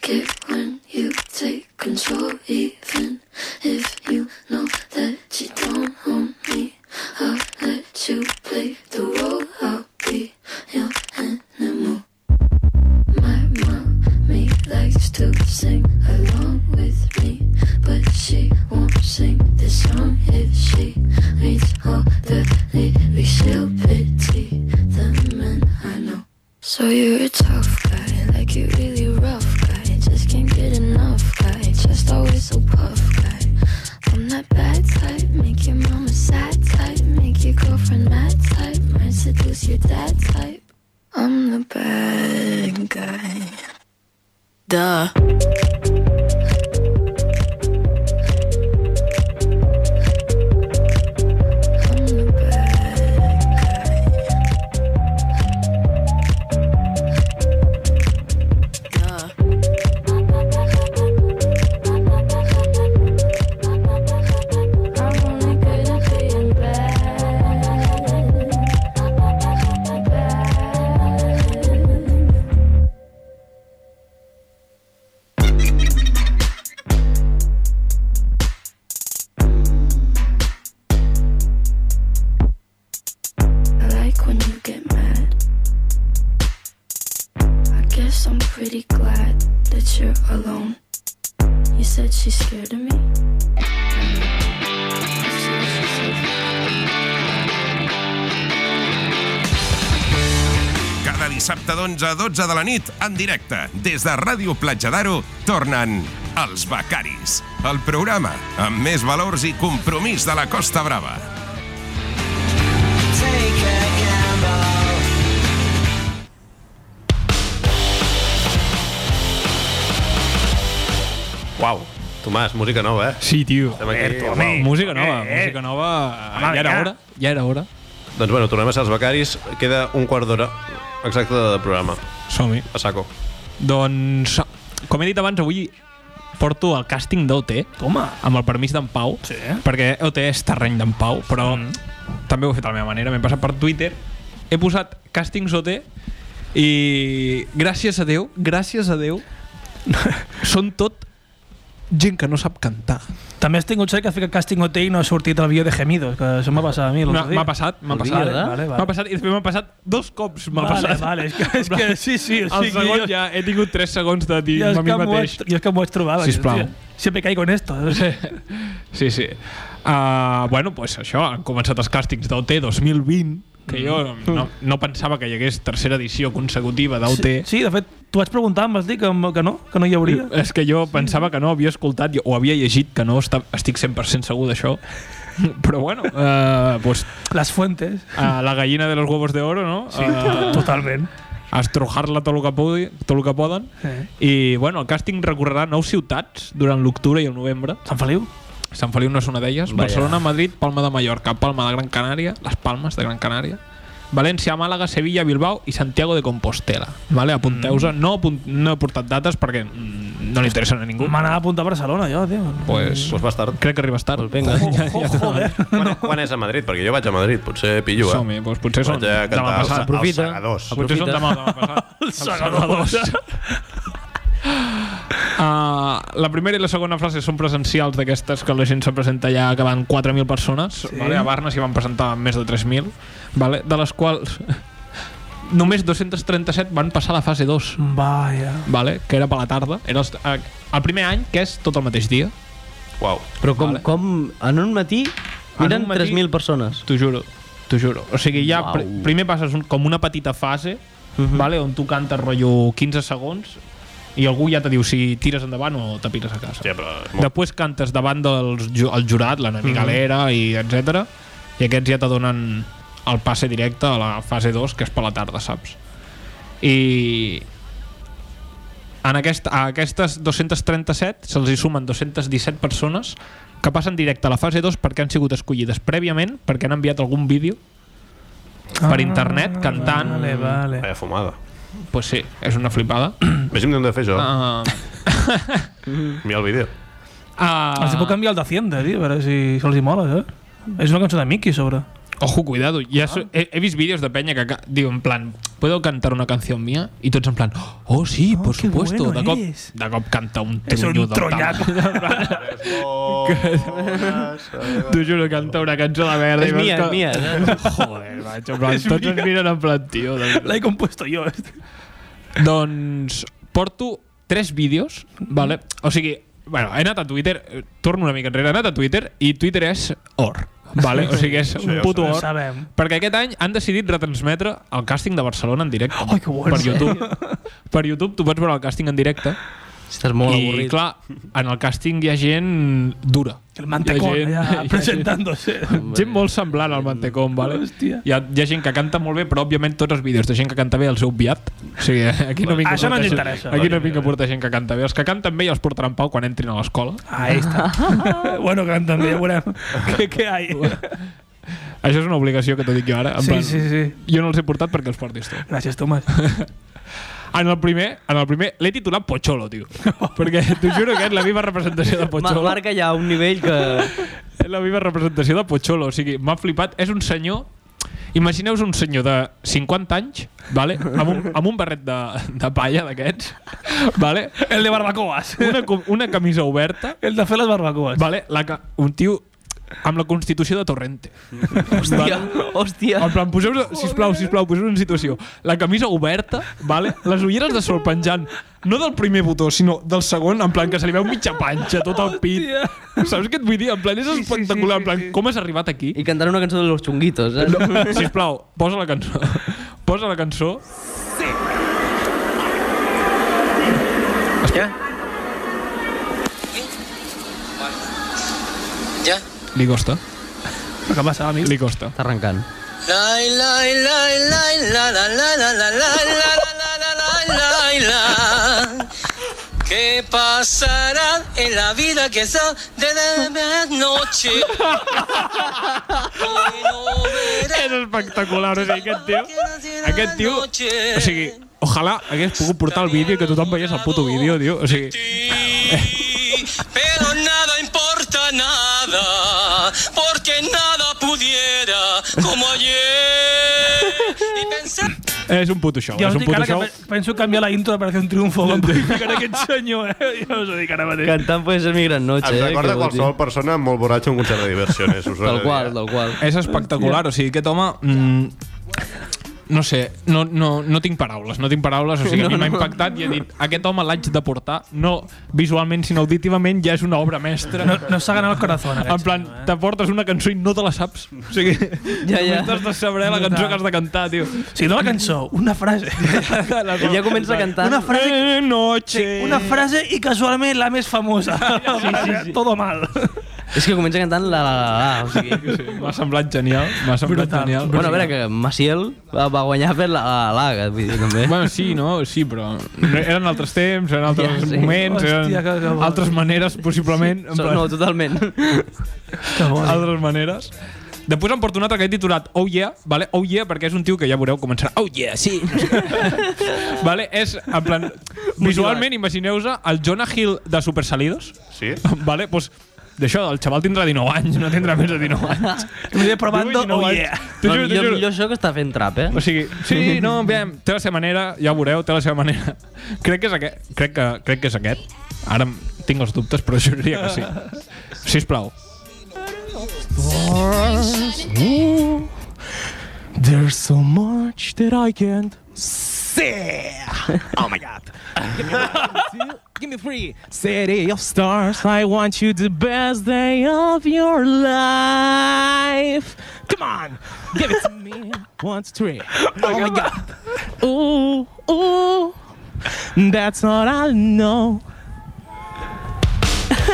Speaker 12: Get when you take control, even if you know that you don't own me. I'll let you play the role. I'll be your animal. My mommy likes to sing along with me, but she won't sing this song if she reads all the lyrics. She'll pity the men I know. So you're a tough guy, like you really rough guy. Just can't get enough guy, just always so puff guy. I'm that bad type, make your mama sad type, make your girlfriend mad type, might seduce your dad type. I'm the bad guy. Duh. Bad. that you're alone. You said she's scared of me.
Speaker 1: Cada dissabte d'11 a 12 de la nit, en directe, des de Ràdio Platja d'Aro, tornen Els Becaris, el programa amb més valors i compromís de la Costa Brava.
Speaker 2: Uau, Tomàs, música nova, eh?
Speaker 11: Sí, tio.
Speaker 2: Estem aquí,
Speaker 11: Alberto,
Speaker 2: uau.
Speaker 11: home.
Speaker 5: Música nova,
Speaker 11: Eh, eh.
Speaker 5: música nova.
Speaker 11: Home,
Speaker 5: ja era
Speaker 11: vinga.
Speaker 5: hora, ja era hora.
Speaker 2: Doncs bueno, tornem a ser els becaris. Queda un quart d'hora exacte de programa.
Speaker 5: Som-hi.
Speaker 2: A saco.
Speaker 5: Doncs, com he dit abans, avui porto el càsting d'OT. Home! Amb el permís d'en Pau. Sí. Perquè OT és terreny d'en Pau, però mm. també ho he fet a la meva manera. M'he passat per Twitter, he posat càstings OT i gràcies a Déu, gràcies a Déu, són tot gent que no sap cantar.
Speaker 4: També has tingut cert que has ficat càsting OT i no ha sortit el vídeo de gemidos, que això m'ha passat a mi l'altre
Speaker 5: M'ha-
Speaker 4: dia.
Speaker 5: M'ha passat, m'ha
Speaker 4: El
Speaker 5: passat. eh?
Speaker 4: vídeo, Vale, vale.
Speaker 5: M'ha passat i després m'ha passat dos cops. M'ha
Speaker 4: Vale,
Speaker 5: passat.
Speaker 4: vale, és que- és que sí, sí, o
Speaker 5: El
Speaker 4: sigui,
Speaker 5: segon
Speaker 4: jo-
Speaker 5: ja he tingut 3 segons de dir
Speaker 4: Jo és,
Speaker 5: a mi
Speaker 4: que m'ho he-
Speaker 5: mateix.
Speaker 4: jo és que m'ho he trobat.
Speaker 5: Sisplau.
Speaker 4: Sempre caigo en esto. Sí.
Speaker 5: Sí, sí. Uh, bueno, doncs pues això, han començat els càstings d'OT 2020, que jo
Speaker 4: Mm.
Speaker 5: no, no pensava que hi hagués tercera edició consecutiva d'OT.
Speaker 4: Sí, sí, de fet, tu vas preguntar, em vas dir que, que no, que no hi hauria.
Speaker 5: És que jo pensava que no, havia escoltat o havia llegit que no, està, estic 100% segur d'això. Però bueno, eh, pues,
Speaker 4: les fuentes.
Speaker 5: Uh, la gallina de los huevos de oro, no?
Speaker 4: Sí,
Speaker 5: Eh,
Speaker 4: totalment.
Speaker 5: Estrojar-la tot el que, pugui, tot el que poden.
Speaker 4: Eh.
Speaker 5: I bueno, el càsting recorrerà nou ciutats durant l'octubre i el novembre.
Speaker 4: Sant Feliu?
Speaker 5: Sant Feliu no és una d'elles.
Speaker 11: Vaja.
Speaker 5: Barcelona, Madrid, Palma de Mallorca, Palma de Gran Canària, Les Palmes de Gran Canària, València, Màlaga, Sevilla, Bilbao i Santiago de Compostela. Vale? Apunteu-se. No, apun- no he portat dates perquè mm, no li interessen a ningú.
Speaker 4: M'ha anat a apuntar a Barcelona, jo, tio.
Speaker 5: Pues,
Speaker 2: pues vas tard.
Speaker 5: Crec que arribes tard. Pues venga. Ja, ja, ja,
Speaker 2: Quan, quan és a Madrid? Perquè jo vaig a Madrid, potser pillo, eh?
Speaker 5: Som-hi, doncs potser són
Speaker 2: Vaig a
Speaker 5: demà
Speaker 2: cantar
Speaker 5: passat.
Speaker 2: als, als
Speaker 5: Aprofita.
Speaker 2: segadors.
Speaker 5: Potser són demà, demà passat. Els segadors. Uh, la primera i la segona frase són presencials d'aquestes que la gent se presenta allà que van 4.000 persones sí. vale? a Barna s'hi van presentar més de 3.000 vale? de les quals només 237 van passar a la fase 2
Speaker 4: Vaja.
Speaker 5: vale? que era per la tarda era els, eh, el primer any que és tot el mateix dia
Speaker 2: Uau.
Speaker 6: Però com, vale. com en un matí eren 3.000 persones.
Speaker 5: T'ho juro, t'ho juro. O sigui, ja pr primer passes un, com una petita fase, vale, on tu cantes rotllo 15 segons i algú ja te diu si tires endavant o te pires a casa.
Speaker 2: Hòstia, però és molt...
Speaker 5: Després cantes davant del ju el jurat, la Noemi
Speaker 2: Mhm.
Speaker 5: Galera i etc. I aquests ja te donen el passe directe a la fase 2, que és per la tarda, saps? I en aquest, a aquestes 237 se'ls hi sumen 217 persones que passen directe a la fase 2 perquè han sigut escollides prèviament perquè han enviat algun vídeo per internet cantant vale,
Speaker 4: vale.
Speaker 2: Vaya fumada.
Speaker 5: pues sí, és una flipada
Speaker 2: Vés-hi hem de fer jo.
Speaker 5: Ah.
Speaker 2: Mira el vídeo.
Speaker 5: Ah.
Speaker 4: Els puc canviar el d'Hacienda, tio, a veure si se'ls hi mola, eh? És una cançó de Mickey, a sobre.
Speaker 5: Ojo, cuidado.
Speaker 4: Ah.
Speaker 5: Ya so- he, he visto vídeos de Peña que ca- digo, en plan, ¿puedo cantar una canción mía? Y todos en plan, oh, sí, por supuesto.
Speaker 4: Ah, bueno
Speaker 5: da cop,
Speaker 4: eres.
Speaker 5: da cop canta un
Speaker 4: Es un
Speaker 5: truño del
Speaker 4: troñaco.
Speaker 5: tamaño. Tú yo lo canta una canción de mierda.
Speaker 4: Es
Speaker 5: y vas
Speaker 4: mía,
Speaker 5: con-
Speaker 4: es mía.
Speaker 5: Joder, macho. en plan,
Speaker 4: Es
Speaker 5: Todos
Speaker 4: mía.
Speaker 5: miran en plan, tío. de
Speaker 4: La he compuesto yo. este.
Speaker 5: Doncs porto tres vídeos, vale? O sigui, bueno, he anat a Twitter, eh, torno una mica enrere, he anat a Twitter i Twitter és or, vale? O sigui, és
Speaker 4: Sí,
Speaker 5: un
Speaker 4: ho
Speaker 5: puto or.
Speaker 4: sabem.
Speaker 5: Perquè aquest any han decidit retransmetre el càsting de Barcelona en directe. Oh, que
Speaker 4: bueno.
Speaker 5: Per YouTube. per YouTube tu pots veure el càsting en directe.
Speaker 6: Estàs molt
Speaker 5: I,
Speaker 6: avorrit.
Speaker 5: clar, en el càsting hi ha gent dura.
Speaker 4: El Mantecón, allà, presentándose.
Speaker 5: Gent molt semblant al Mantecón, vale? Hòstia. Hi ha, hi ha gent que canta molt bé, però òbviament tots els vídeos de gent que canta bé els he obviat. O sigui, aquí no vinc a
Speaker 4: Això no
Speaker 5: portar
Speaker 4: ens
Speaker 5: gent-
Speaker 4: interessa.
Speaker 5: Aquí no vinc a portar gent que canta bé. Els que canten bé ja els portaran pau quan entrin a l'escola.
Speaker 4: Ahí está. bueno, cantan, ja veurem què, què hay.
Speaker 5: Això és una obligació que t'ho dic jo ara. En
Speaker 4: Sí, sí,
Speaker 5: Jo no els he portat perquè els portis tu.
Speaker 4: Gràcies, Tomàs.
Speaker 5: En el primer, en el primer l'he titulat Pocholo, tio. perquè t'ho juro que és la viva representació de Pocholo.
Speaker 6: Mar- marca ja un nivell que...
Speaker 5: És la viva representació de Pocholo. O sigui, m'ha flipat. És un senyor... Imagineu-vos un senyor de 50 anys, vale? amb, un, amb un barret de, de palla d'aquests, vale?
Speaker 4: El de barbacoas.
Speaker 5: Una, com- una camisa oberta.
Speaker 4: El de fer les barbacoas.
Speaker 5: Vale? La, ca- un tio amb la Constitució de Torrente.
Speaker 4: Hòstia,
Speaker 6: hòstia.
Speaker 5: En plan, poseu sisplau, sisplau, poseu en situació. La camisa oberta, vale? les ulleres de sol penjant, no del primer botó, sinó del segon, en plan que se li veu mitja panxa, tot el pit. Saps què et vull dir? En plan, és espectacular, en plan, com has arribat aquí?
Speaker 6: I cantant una cançó de los chunguitos, eh?
Speaker 5: No, sisplau, posa la cançó. Posa la cançó.
Speaker 13: ¿Ya? ¿Ya?
Speaker 5: Li costa.
Speaker 4: Però què passa, amic?
Speaker 5: Li costa.
Speaker 6: Està arrencant.
Speaker 13: Lai, lai, lai, lai, la, la, la, la, la, la, la, la, la, la, la, la. ¿Qué pasará en la vida que está de la noche?
Speaker 5: És espectacular, o sigui, aquest tio... Aquest tio... O sigui, ojalà hagués pogut portar el vídeo i que tothom veiés el puto vídeo, tio. O sigui,
Speaker 13: Pero nada importa nada, porque nada pudiera como ayer. Y pensar.
Speaker 5: és un puto show,
Speaker 4: Jo
Speaker 5: és
Speaker 4: us
Speaker 5: un
Speaker 4: dic
Speaker 5: puto
Speaker 4: ara que
Speaker 5: show.
Speaker 4: pe- penso canviar la intro d'Operació en Triunfo. Com puc ficar aquest senyor, eh? Jo us ho dic ara mateix.
Speaker 6: Cantant puede ser mi gran noche,
Speaker 2: Em
Speaker 6: eh?
Speaker 2: recorda
Speaker 6: que vol dir.
Speaker 2: qualsevol eh? persona molt borratxa a un concert de diversiones. Us ho he de dir.
Speaker 6: del qual.
Speaker 4: Eh,
Speaker 5: És espectacular, o sigui, aquest home... Mm, no sé, no, no, no tinc paraules, no tinc paraules, o sigui, a
Speaker 11: No,
Speaker 5: mi m'ha
Speaker 11: no.
Speaker 5: impactat i he dit, aquest home l'haig de portar, no visualment sinó auditivament, ja és una obra mestra.
Speaker 4: No- no s'ha ganat el corazón, aquest
Speaker 5: En plan, t'aportes una cançó i no te la saps. O sigui,
Speaker 4: Ja, ja.
Speaker 5: només t'has de saber la cançó que has de cantar, tio.
Speaker 4: Si no la cançó, una frase.
Speaker 5: Ell
Speaker 4: ja comença a cantar. Una frase,
Speaker 5: noche.
Speaker 4: una frase i casualment la més famosa. Sí, sí, sí. Todo mal.
Speaker 6: És que comença cantant la la la la, o sigui...
Speaker 5: M'ha semblat genial, m'ha semblat
Speaker 6: Brutal.
Speaker 5: genial.
Speaker 6: Bueno, a veure, que Maciel va va guanyar per la la la, vull dir, també.
Speaker 5: Bueno, sí, no? Sí, però eren altres temps, eren altres
Speaker 6: Ja, sí.
Speaker 5: moments, eren
Speaker 6: Hòstia, que- que bo.
Speaker 5: altres maneres, possiblement.
Speaker 6: So- no, totalment.
Speaker 5: Que bo. Altres maneres. Després em porto un altre que he titulat Oh Yeah, vale? Oh Yeah, perquè és un tio que ja veureu començarà Oh Yeah, sí. vale? És, en plan,
Speaker 6: eh?
Speaker 5: visualment, imagineu-vos el Jonah Hill de Supersalidos.
Speaker 2: Sí.
Speaker 5: Vale? Pues, D'això, el xaval tindrà 19 anys, no tindrà més de 19 anys.
Speaker 4: M'he provando, oh yeah.
Speaker 5: T'ho
Speaker 6: No,
Speaker 5: juro, t'ho
Speaker 6: millor,
Speaker 5: juro.
Speaker 6: millor això que està fent trap, eh?
Speaker 5: O sigui, sí, no, aviam, té la seva manera, ja ho veureu, té la seva manera. Crec que és aquest. Crec que, crec que és aquest. Ara em- tinc els dubtes, però juraria que sí. Sisplau.
Speaker 8: Ooh,
Speaker 5: There's so much that I can't
Speaker 8: say.
Speaker 5: Oh my god.
Speaker 8: Give me free.
Speaker 5: City of stars,
Speaker 11: I want you the best day of your life. Come on, give it to me. One, two, three. Oh my god. Ooh, ooh. That's all I know.
Speaker 5: És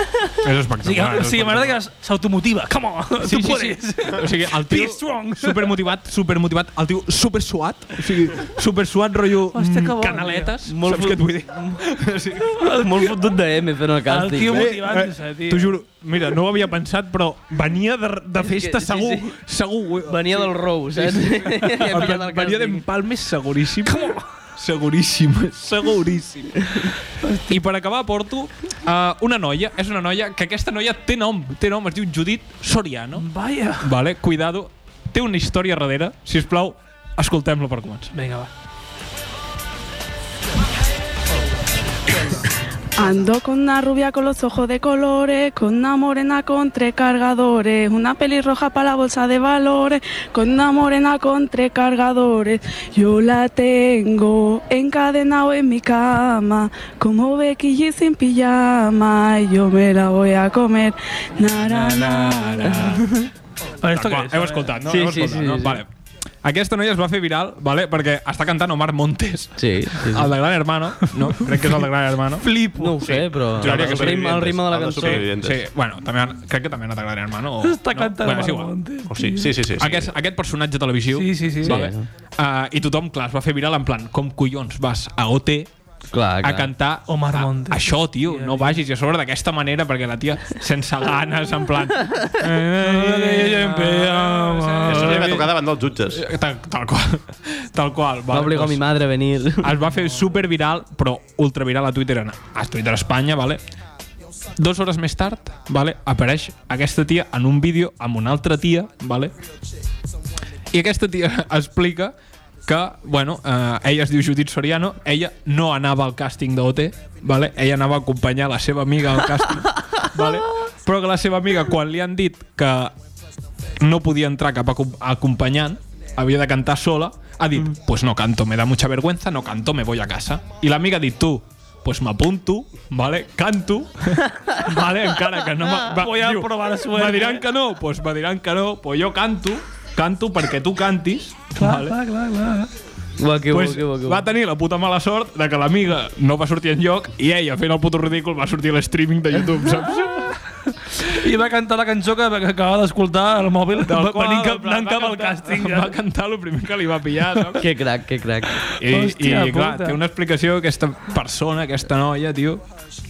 Speaker 4: Sí,
Speaker 5: espectacular.
Speaker 4: o sigui, m'agrada que s'automotiva. Come on,
Speaker 5: Sí,
Speaker 4: tu
Speaker 5: sí, sí.
Speaker 4: puedes.
Speaker 5: O sigui, el tio
Speaker 4: Be strong.
Speaker 5: supermotivat, supermotivat, el tio supersuat, o sigui, supersuat, rotllo
Speaker 4: Hòstia, que bo,
Speaker 5: mm, canaletes,
Speaker 4: tio.
Speaker 5: molt
Speaker 4: Molt
Speaker 5: saps què et vull dir? sí.
Speaker 6: Molt fotut de M fent el càstig.
Speaker 5: Eh,
Speaker 6: motivant-se,
Speaker 5: eh,
Speaker 6: tio.
Speaker 5: T'ho juro, mira, no ho havia pensat, però venia de, de
Speaker 6: És que-
Speaker 5: festa
Speaker 6: sí,
Speaker 5: segur,
Speaker 6: sí.
Speaker 5: segur.
Speaker 6: Venia del Rou, saps? Ja havia
Speaker 5: En plan,
Speaker 6: pillat el
Speaker 5: Venia d'empalmes seguríssim. Seguríssim, seguríssim. I per acabar porto uh, una noia, és una noia que aquesta noia té nom, té nom, es diu Judit Soriano.
Speaker 4: Vaya.
Speaker 5: Vale, cuidado, té una història darrere, si us plau, escoltem-la per començar.
Speaker 4: Vinga, va.
Speaker 14: Ando con una rubia con los ojos de colores, con una morena con tres cargadores, una pelirroja para la bolsa de valores, con una morena con tres cargadores. Yo la tengo encadenado en mi cama, como Becky G sin pijama, y yo me la voy a comer. Na, na, na, na.
Speaker 5: Però esto què és? Heu escoltat, no?
Speaker 14: eh, Sí,
Speaker 5: Heu
Speaker 14: sí,
Speaker 5: escoltat,
Speaker 14: sí,
Speaker 5: no?
Speaker 14: sí.
Speaker 5: Vale. Aquesta noia es va fer viral, vale? perquè està cantant Omar Montes.
Speaker 6: Sí, sí, sí.
Speaker 5: El de Gran Hermano, no? Crec que és el de Gran Hermano.
Speaker 6: Flipo. No ho sé, però
Speaker 5: Juraria que
Speaker 6: el
Speaker 5: sí.
Speaker 6: ritme- el ritme de la
Speaker 5: El
Speaker 6: cançó.
Speaker 5: Sí, bueno, també, han- crec que també han anat a Gran Hermano. O,
Speaker 4: Està cantant
Speaker 5: Bueno, és
Speaker 4: Omar
Speaker 5: igual.
Speaker 4: Montes,
Speaker 2: O Oh, sí, sí, sí, sí, sí.
Speaker 5: Aquest, aquest personatge televisiu.
Speaker 4: Sí, sí, sí.
Speaker 5: Vale?
Speaker 4: Sí.
Speaker 5: Uh, I tothom, clar, es va fer viral en plan, com collons vas a OT
Speaker 6: clar,
Speaker 5: a cantar Omar Montes. això, tio, no vagis i a sobre d'aquesta manera perquè la tia sense ganes, en plan
Speaker 2: Això li va
Speaker 5: Tal
Speaker 2: tocar davant dels jutges.
Speaker 5: qual Tal qual doncs.
Speaker 6: Va obligar mi madre a venir
Speaker 5: Es va fer superviral, però ultraviral a Twitter en- a Twitter Espanya, vale? Dos hores més tard, vale, apareix aquesta tia en un vídeo amb una altra tia, vale? I aquesta tia explica que, bueno, eh, ella es diu Judit Soriano, ella
Speaker 4: Ah.
Speaker 5: no anava al càsting d'OT, vale? ella anava a acompanyar la seva amiga al càsting, vale? però que la seva amiga, quan li han dit que no podia entrar cap acom- acompanyant, havia de cantar sola, ha dit,
Speaker 4: Mm.
Speaker 5: pues no canto, me da mucha vergüenza, no canto, me voy a casa. I l'amiga ha dit, tu, pues m'apunto, vale, canto, vale, encara que no... m'ha- Va,
Speaker 4: Ah. Voy a probar suerte.
Speaker 5: Me diran que no, pues me diran que no, pues jo canto, canto perquè tu cantis,
Speaker 4: Clar,
Speaker 5: vale.
Speaker 4: clar, clar, clar.
Speaker 6: Va, que bo,
Speaker 5: pues
Speaker 6: que bo, que bo.
Speaker 5: va tenir la puta mala sort de que l'amiga no va sortir en lloc i ella fent el puto ridícul va sortir a l'streaming de YouTube, saps?
Speaker 4: I va cantar la cançó que, que acabava d'escoltar al mòbil
Speaker 5: Del
Speaker 4: Va-
Speaker 5: qual,
Speaker 4: venint cap,
Speaker 5: en plan,
Speaker 4: anant
Speaker 5: va
Speaker 4: cap al
Speaker 5: cantar-
Speaker 4: càsting.
Speaker 5: va cantar el primer que li va pillar, saps?
Speaker 6: Que crac, que crac.
Speaker 5: I,
Speaker 6: Hòstia
Speaker 5: i clar,
Speaker 6: puta.
Speaker 5: té una explicació aquesta persona, aquesta noia, tio.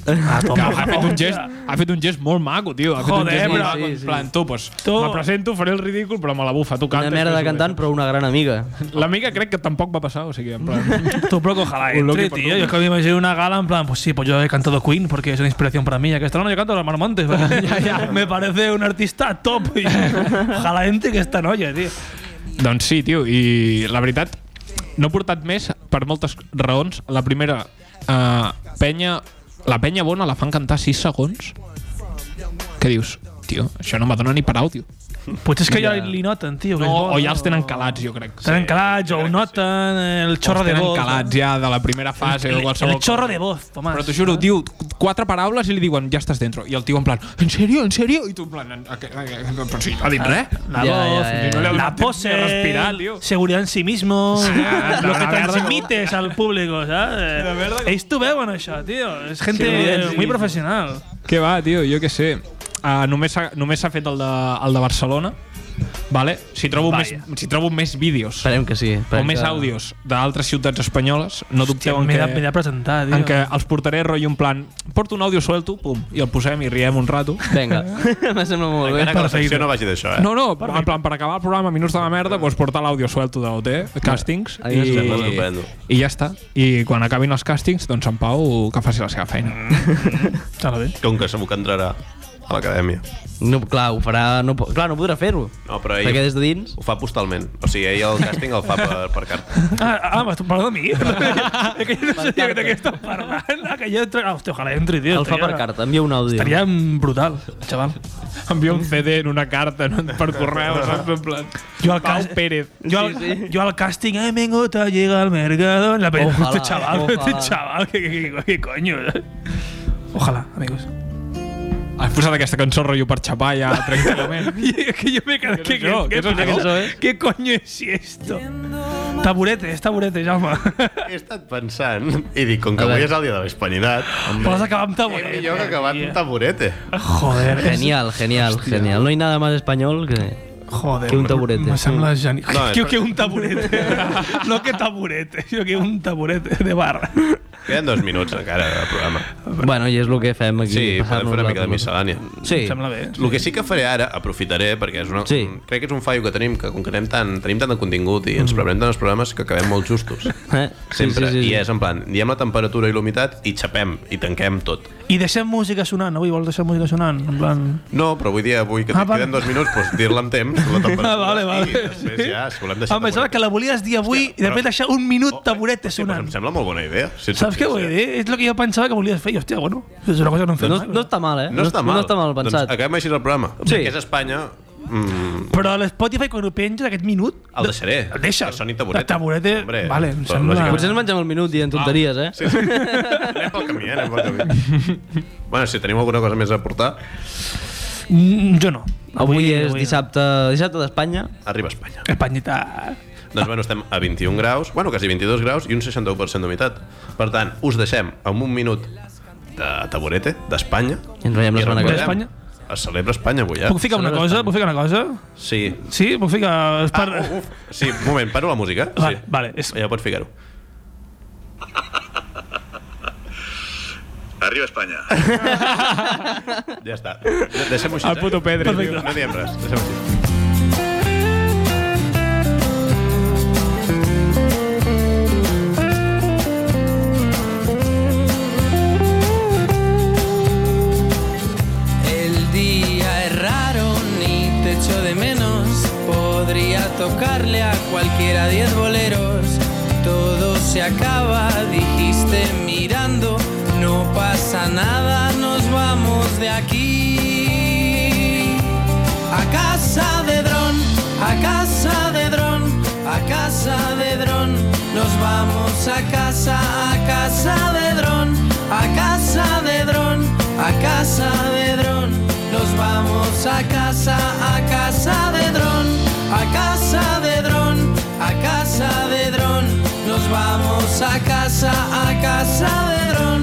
Speaker 5: Ah, que ha fet un gest, ha fet un gest molt maco, tio. Ha fet un
Speaker 6: Joder,
Speaker 5: gest molt
Speaker 6: però-
Speaker 5: maco,
Speaker 6: sí,
Speaker 5: en
Speaker 6: sí.
Speaker 5: plan, tu, pues, me presento, faré el ridícul, però me la bufa, tu
Speaker 6: Una
Speaker 5: cantes.
Speaker 6: merda de cantant, però una gran amiga.
Speaker 5: L'amiga crec que tampoc va passar, o sigui, en plan...
Speaker 4: Tú, pero que ojalá
Speaker 5: Un
Speaker 4: entre,
Speaker 5: Loki por
Speaker 4: tío.
Speaker 5: Loki.
Speaker 4: Yo es que me imagino una gala en plan, pues sí, pues yo he cantado Queen porque es una inspiración para mí. Ya que esta no, yo canto a Romano Montes. porque Me parece un artista top. Y ojalá entre que esta noia, tío.
Speaker 5: Doncs sí, tio, i la veritat, no he portat més per moltes raons. La primera, eh, penya, la penya bona la fan cantar 6 segons. Què dius? Tio, això no m'ha donat ni per àudio.
Speaker 4: Pues es que ya li noten, tío. que
Speaker 5: No,
Speaker 4: es bo,
Speaker 5: o ja els tenen calats, jo crec.
Speaker 4: Tenen calats, o ho noten, el chorro
Speaker 5: Els
Speaker 4: de
Speaker 5: tenen
Speaker 4: voz.
Speaker 5: calats ja de la primera fase o
Speaker 4: El-
Speaker 5: qualsevol
Speaker 4: el chorro de voz, Tomás.
Speaker 5: Però t'ho juro, diu quatre paraules i li diuen ja estàs dentro. I el tio en plan, en serio, en serio? I tu en plan, "En- a- a- a- a- però si no ha dit res.
Speaker 4: La voz, la pose,
Speaker 5: respirar,
Speaker 4: seguridad en sí mismo,
Speaker 5: anda,
Speaker 4: lo que
Speaker 5: la verga,
Speaker 4: transmites al público, ¿sabes? Estuve bueno eso, tío. Es gente
Speaker 5: Seguridad en sí
Speaker 4: muy
Speaker 5: mismo.
Speaker 4: profesional.
Speaker 5: Què va, tio? Jo què sé. Uh, només s'ha només s'ha fet el de, el de Barcelona. Vale? Si trobo, més,
Speaker 4: Vaya.
Speaker 5: si trobo més vídeos
Speaker 6: Esperem que sí.
Speaker 5: o
Speaker 6: esperem
Speaker 5: més
Speaker 6: que-
Speaker 5: àudios d'altres ciutats espanyoles, no dubteu en
Speaker 4: m'he
Speaker 5: que,
Speaker 4: de- m'he de presentar, tio.
Speaker 5: en que els portaré rotllo en plan porto un àudio suelto, pum, i el posem i riem un rato.
Speaker 6: Vinga, me sembla molt bé.
Speaker 2: Encara que la secció no vagi d'això, eh?
Speaker 5: No, no, en plan, per acabar el programa Minuts de la Merda, doncs portar l'àudio suelto d'OT, eh, càstings,
Speaker 2: Ahí
Speaker 5: i,
Speaker 2: es sembla estupendo.
Speaker 5: i ja està. I quan acabin els càstings, doncs en Pau que faci la seva feina.
Speaker 2: Com que segur que entrarà a l'acadèmia.
Speaker 6: No, clar, ho farà... No, po- clar, no podrà fer-ho.
Speaker 2: No, però ell
Speaker 6: Perquè des de dins...
Speaker 2: ho fa postalment. O sigui, ell el càsting el fa per, per carta.
Speaker 4: Ah, ah, m'has parlat de mi? és que jo no sabia de què estàs parlant. Ah, que jo entro... Ah, hòstia, ojalà entri, tio.
Speaker 6: El fa per carta, envia un àudio.
Speaker 4: Estaria brutal, xaval.
Speaker 5: Envia un CD en una carta, no? per correu, saps? En plan,
Speaker 4: Jo al
Speaker 5: Pau
Speaker 4: cas...
Speaker 5: Pérez.
Speaker 4: Jo al, jo al càsting he vingut a llegar al mercado en la pell.
Speaker 5: Ojalá,
Speaker 4: Este xaval, este
Speaker 5: ojalá.
Speaker 4: xaval, que, que, que, que coño. Ojalà, amigos.
Speaker 5: Has posat aquesta cançó rotllo per xapar ja, tranquil·lament.
Speaker 4: I- que jo me quedo... Que, que,
Speaker 5: això?
Speaker 4: que,
Speaker 5: Què és
Speaker 4: que,
Speaker 5: això?
Speaker 4: ¿Qué eh? coño es esto? Taburetes, taburetes, Jaume.
Speaker 2: He estat pensant i dic, com que
Speaker 4: A
Speaker 2: avui
Speaker 4: veure.
Speaker 2: és el dia de la hispanidad... Hombre,
Speaker 4: Vas acabar amb
Speaker 2: Què
Speaker 4: taburete.
Speaker 2: millor Eh, que acabar amb taburete.
Speaker 4: Joder.
Speaker 6: Genial, genial, genial. No hay nada más español que...
Speaker 4: Joder,
Speaker 6: que un taburete.
Speaker 4: Me sembla genial.
Speaker 6: No, és
Speaker 4: que,
Speaker 6: per-
Speaker 4: que un taburete. no que taburete, jo que un taburete de bar.
Speaker 2: Queden dos minuts encara de programa.
Speaker 6: Bueno, i és el que fem aquí.
Speaker 2: Sí, podem
Speaker 6: passar-nos
Speaker 2: fer
Speaker 6: la
Speaker 2: una mica de
Speaker 6: pilota.
Speaker 2: miscel·lània.
Speaker 6: Sí. Em sembla bé.
Speaker 2: El que sí que faré ara, aprofitaré, perquè és una, sí. crec que és un fallo que tenim, que com que anem tan, tenim tant de contingut i
Speaker 4: Mm.
Speaker 2: ens preparem tant els programes que acabem molt justos.
Speaker 6: Eh?
Speaker 2: Sempre.
Speaker 6: Sí, sí, sí,
Speaker 2: I
Speaker 6: sí.
Speaker 2: és en plan, diem la temperatura i l'humitat i xapem i tanquem tot.
Speaker 4: I deixem música sonant, avui vols deixar música sonant? En plan...
Speaker 2: No, però vull dir, avui que
Speaker 4: Ah,
Speaker 2: ah,
Speaker 4: vale.
Speaker 2: queden dos minuts, doncs dir-la amb temps, la temperatura.
Speaker 4: Ah, vale, vale.
Speaker 2: I després ja, si volem
Speaker 4: Ah,
Speaker 2: deixar...
Speaker 4: em pensava que la volies dir avui i després deixar un
Speaker 2: Oh,
Speaker 4: minut taburete sonant.
Speaker 2: eh, Em sembla molt bona idea. Si
Speaker 4: Saps què vull dir? És el que jo pensava que volies fer. I, hòstia, bueno, és una cosa que no em fem
Speaker 6: No, no està mal, eh?
Speaker 2: doncs- No, està mal.
Speaker 6: No està mal pensat.
Speaker 2: Doncs acabem així el programa.
Speaker 6: Sí.
Speaker 2: Sí. Que és Espanya... Mm,
Speaker 4: Però a l'Spotify, quan ho penges, aquest minut...
Speaker 2: el deixaré. El deixa. Que soni taburete.
Speaker 4: Taburete,
Speaker 2: Hombre,
Speaker 4: eh? vale, em
Speaker 2: però
Speaker 4: sembla...
Speaker 2: lògicament-
Speaker 6: Potser ens mengem el minut dient tonteries, eh?
Speaker 2: Sí, sí. anem pel camí, eh? anem pel camí. bueno, si teniu alguna cosa més a aportar,
Speaker 4: Mm, jo no.
Speaker 6: Avui, és dissabte, dissabte d'Espanya.
Speaker 2: arriba a Espanya.
Speaker 4: Espanyita.
Speaker 2: Doncs bueno, estem a 21 graus, bueno, quasi 22 graus i un 61% d'humitat. Per tant, us deixem amb un minut de taburete d'Espanya.
Speaker 6: I ens veiem la
Speaker 2: I
Speaker 6: setmana que ve.
Speaker 2: recordem, Es celebra Espanya avui, eh?
Speaker 4: Puc ficar una cosa? Puc ficar una cosa?
Speaker 2: Sí.
Speaker 4: Sí? Puc ficar... És per...
Speaker 2: Ah, uf, uf. Sí, un moment, paro la música. Vale, sí.
Speaker 4: vale.
Speaker 2: Ja pots ficar-ho.
Speaker 15: Arriba Espanya.
Speaker 2: Ja està. De- Deixem-ho així.
Speaker 5: El
Speaker 2: eh?
Speaker 5: puto Pedri,
Speaker 2: Perfecte.
Speaker 5: tio.
Speaker 2: No diem res. Deixem-ho així.
Speaker 8: El día es raro, ni te echo de menos. Podría tocarle a cualquiera diez boleros. Todo se acaba, dijiste mirando. No pasa nada, nos vamos de aquí.
Speaker 6: a casa de dron, a casa de dron, a casa de dron. Nos vamos a casa, a casa de dron, a casa de dron, a casa de dron. Nos vamos a casa, a casa de dron, a casa de dron, a casa de dron. Nos vamos a casa, a casa de dron,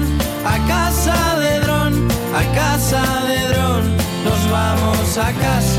Speaker 6: a casa de dron, a casa de dron. Nos vamos a casa.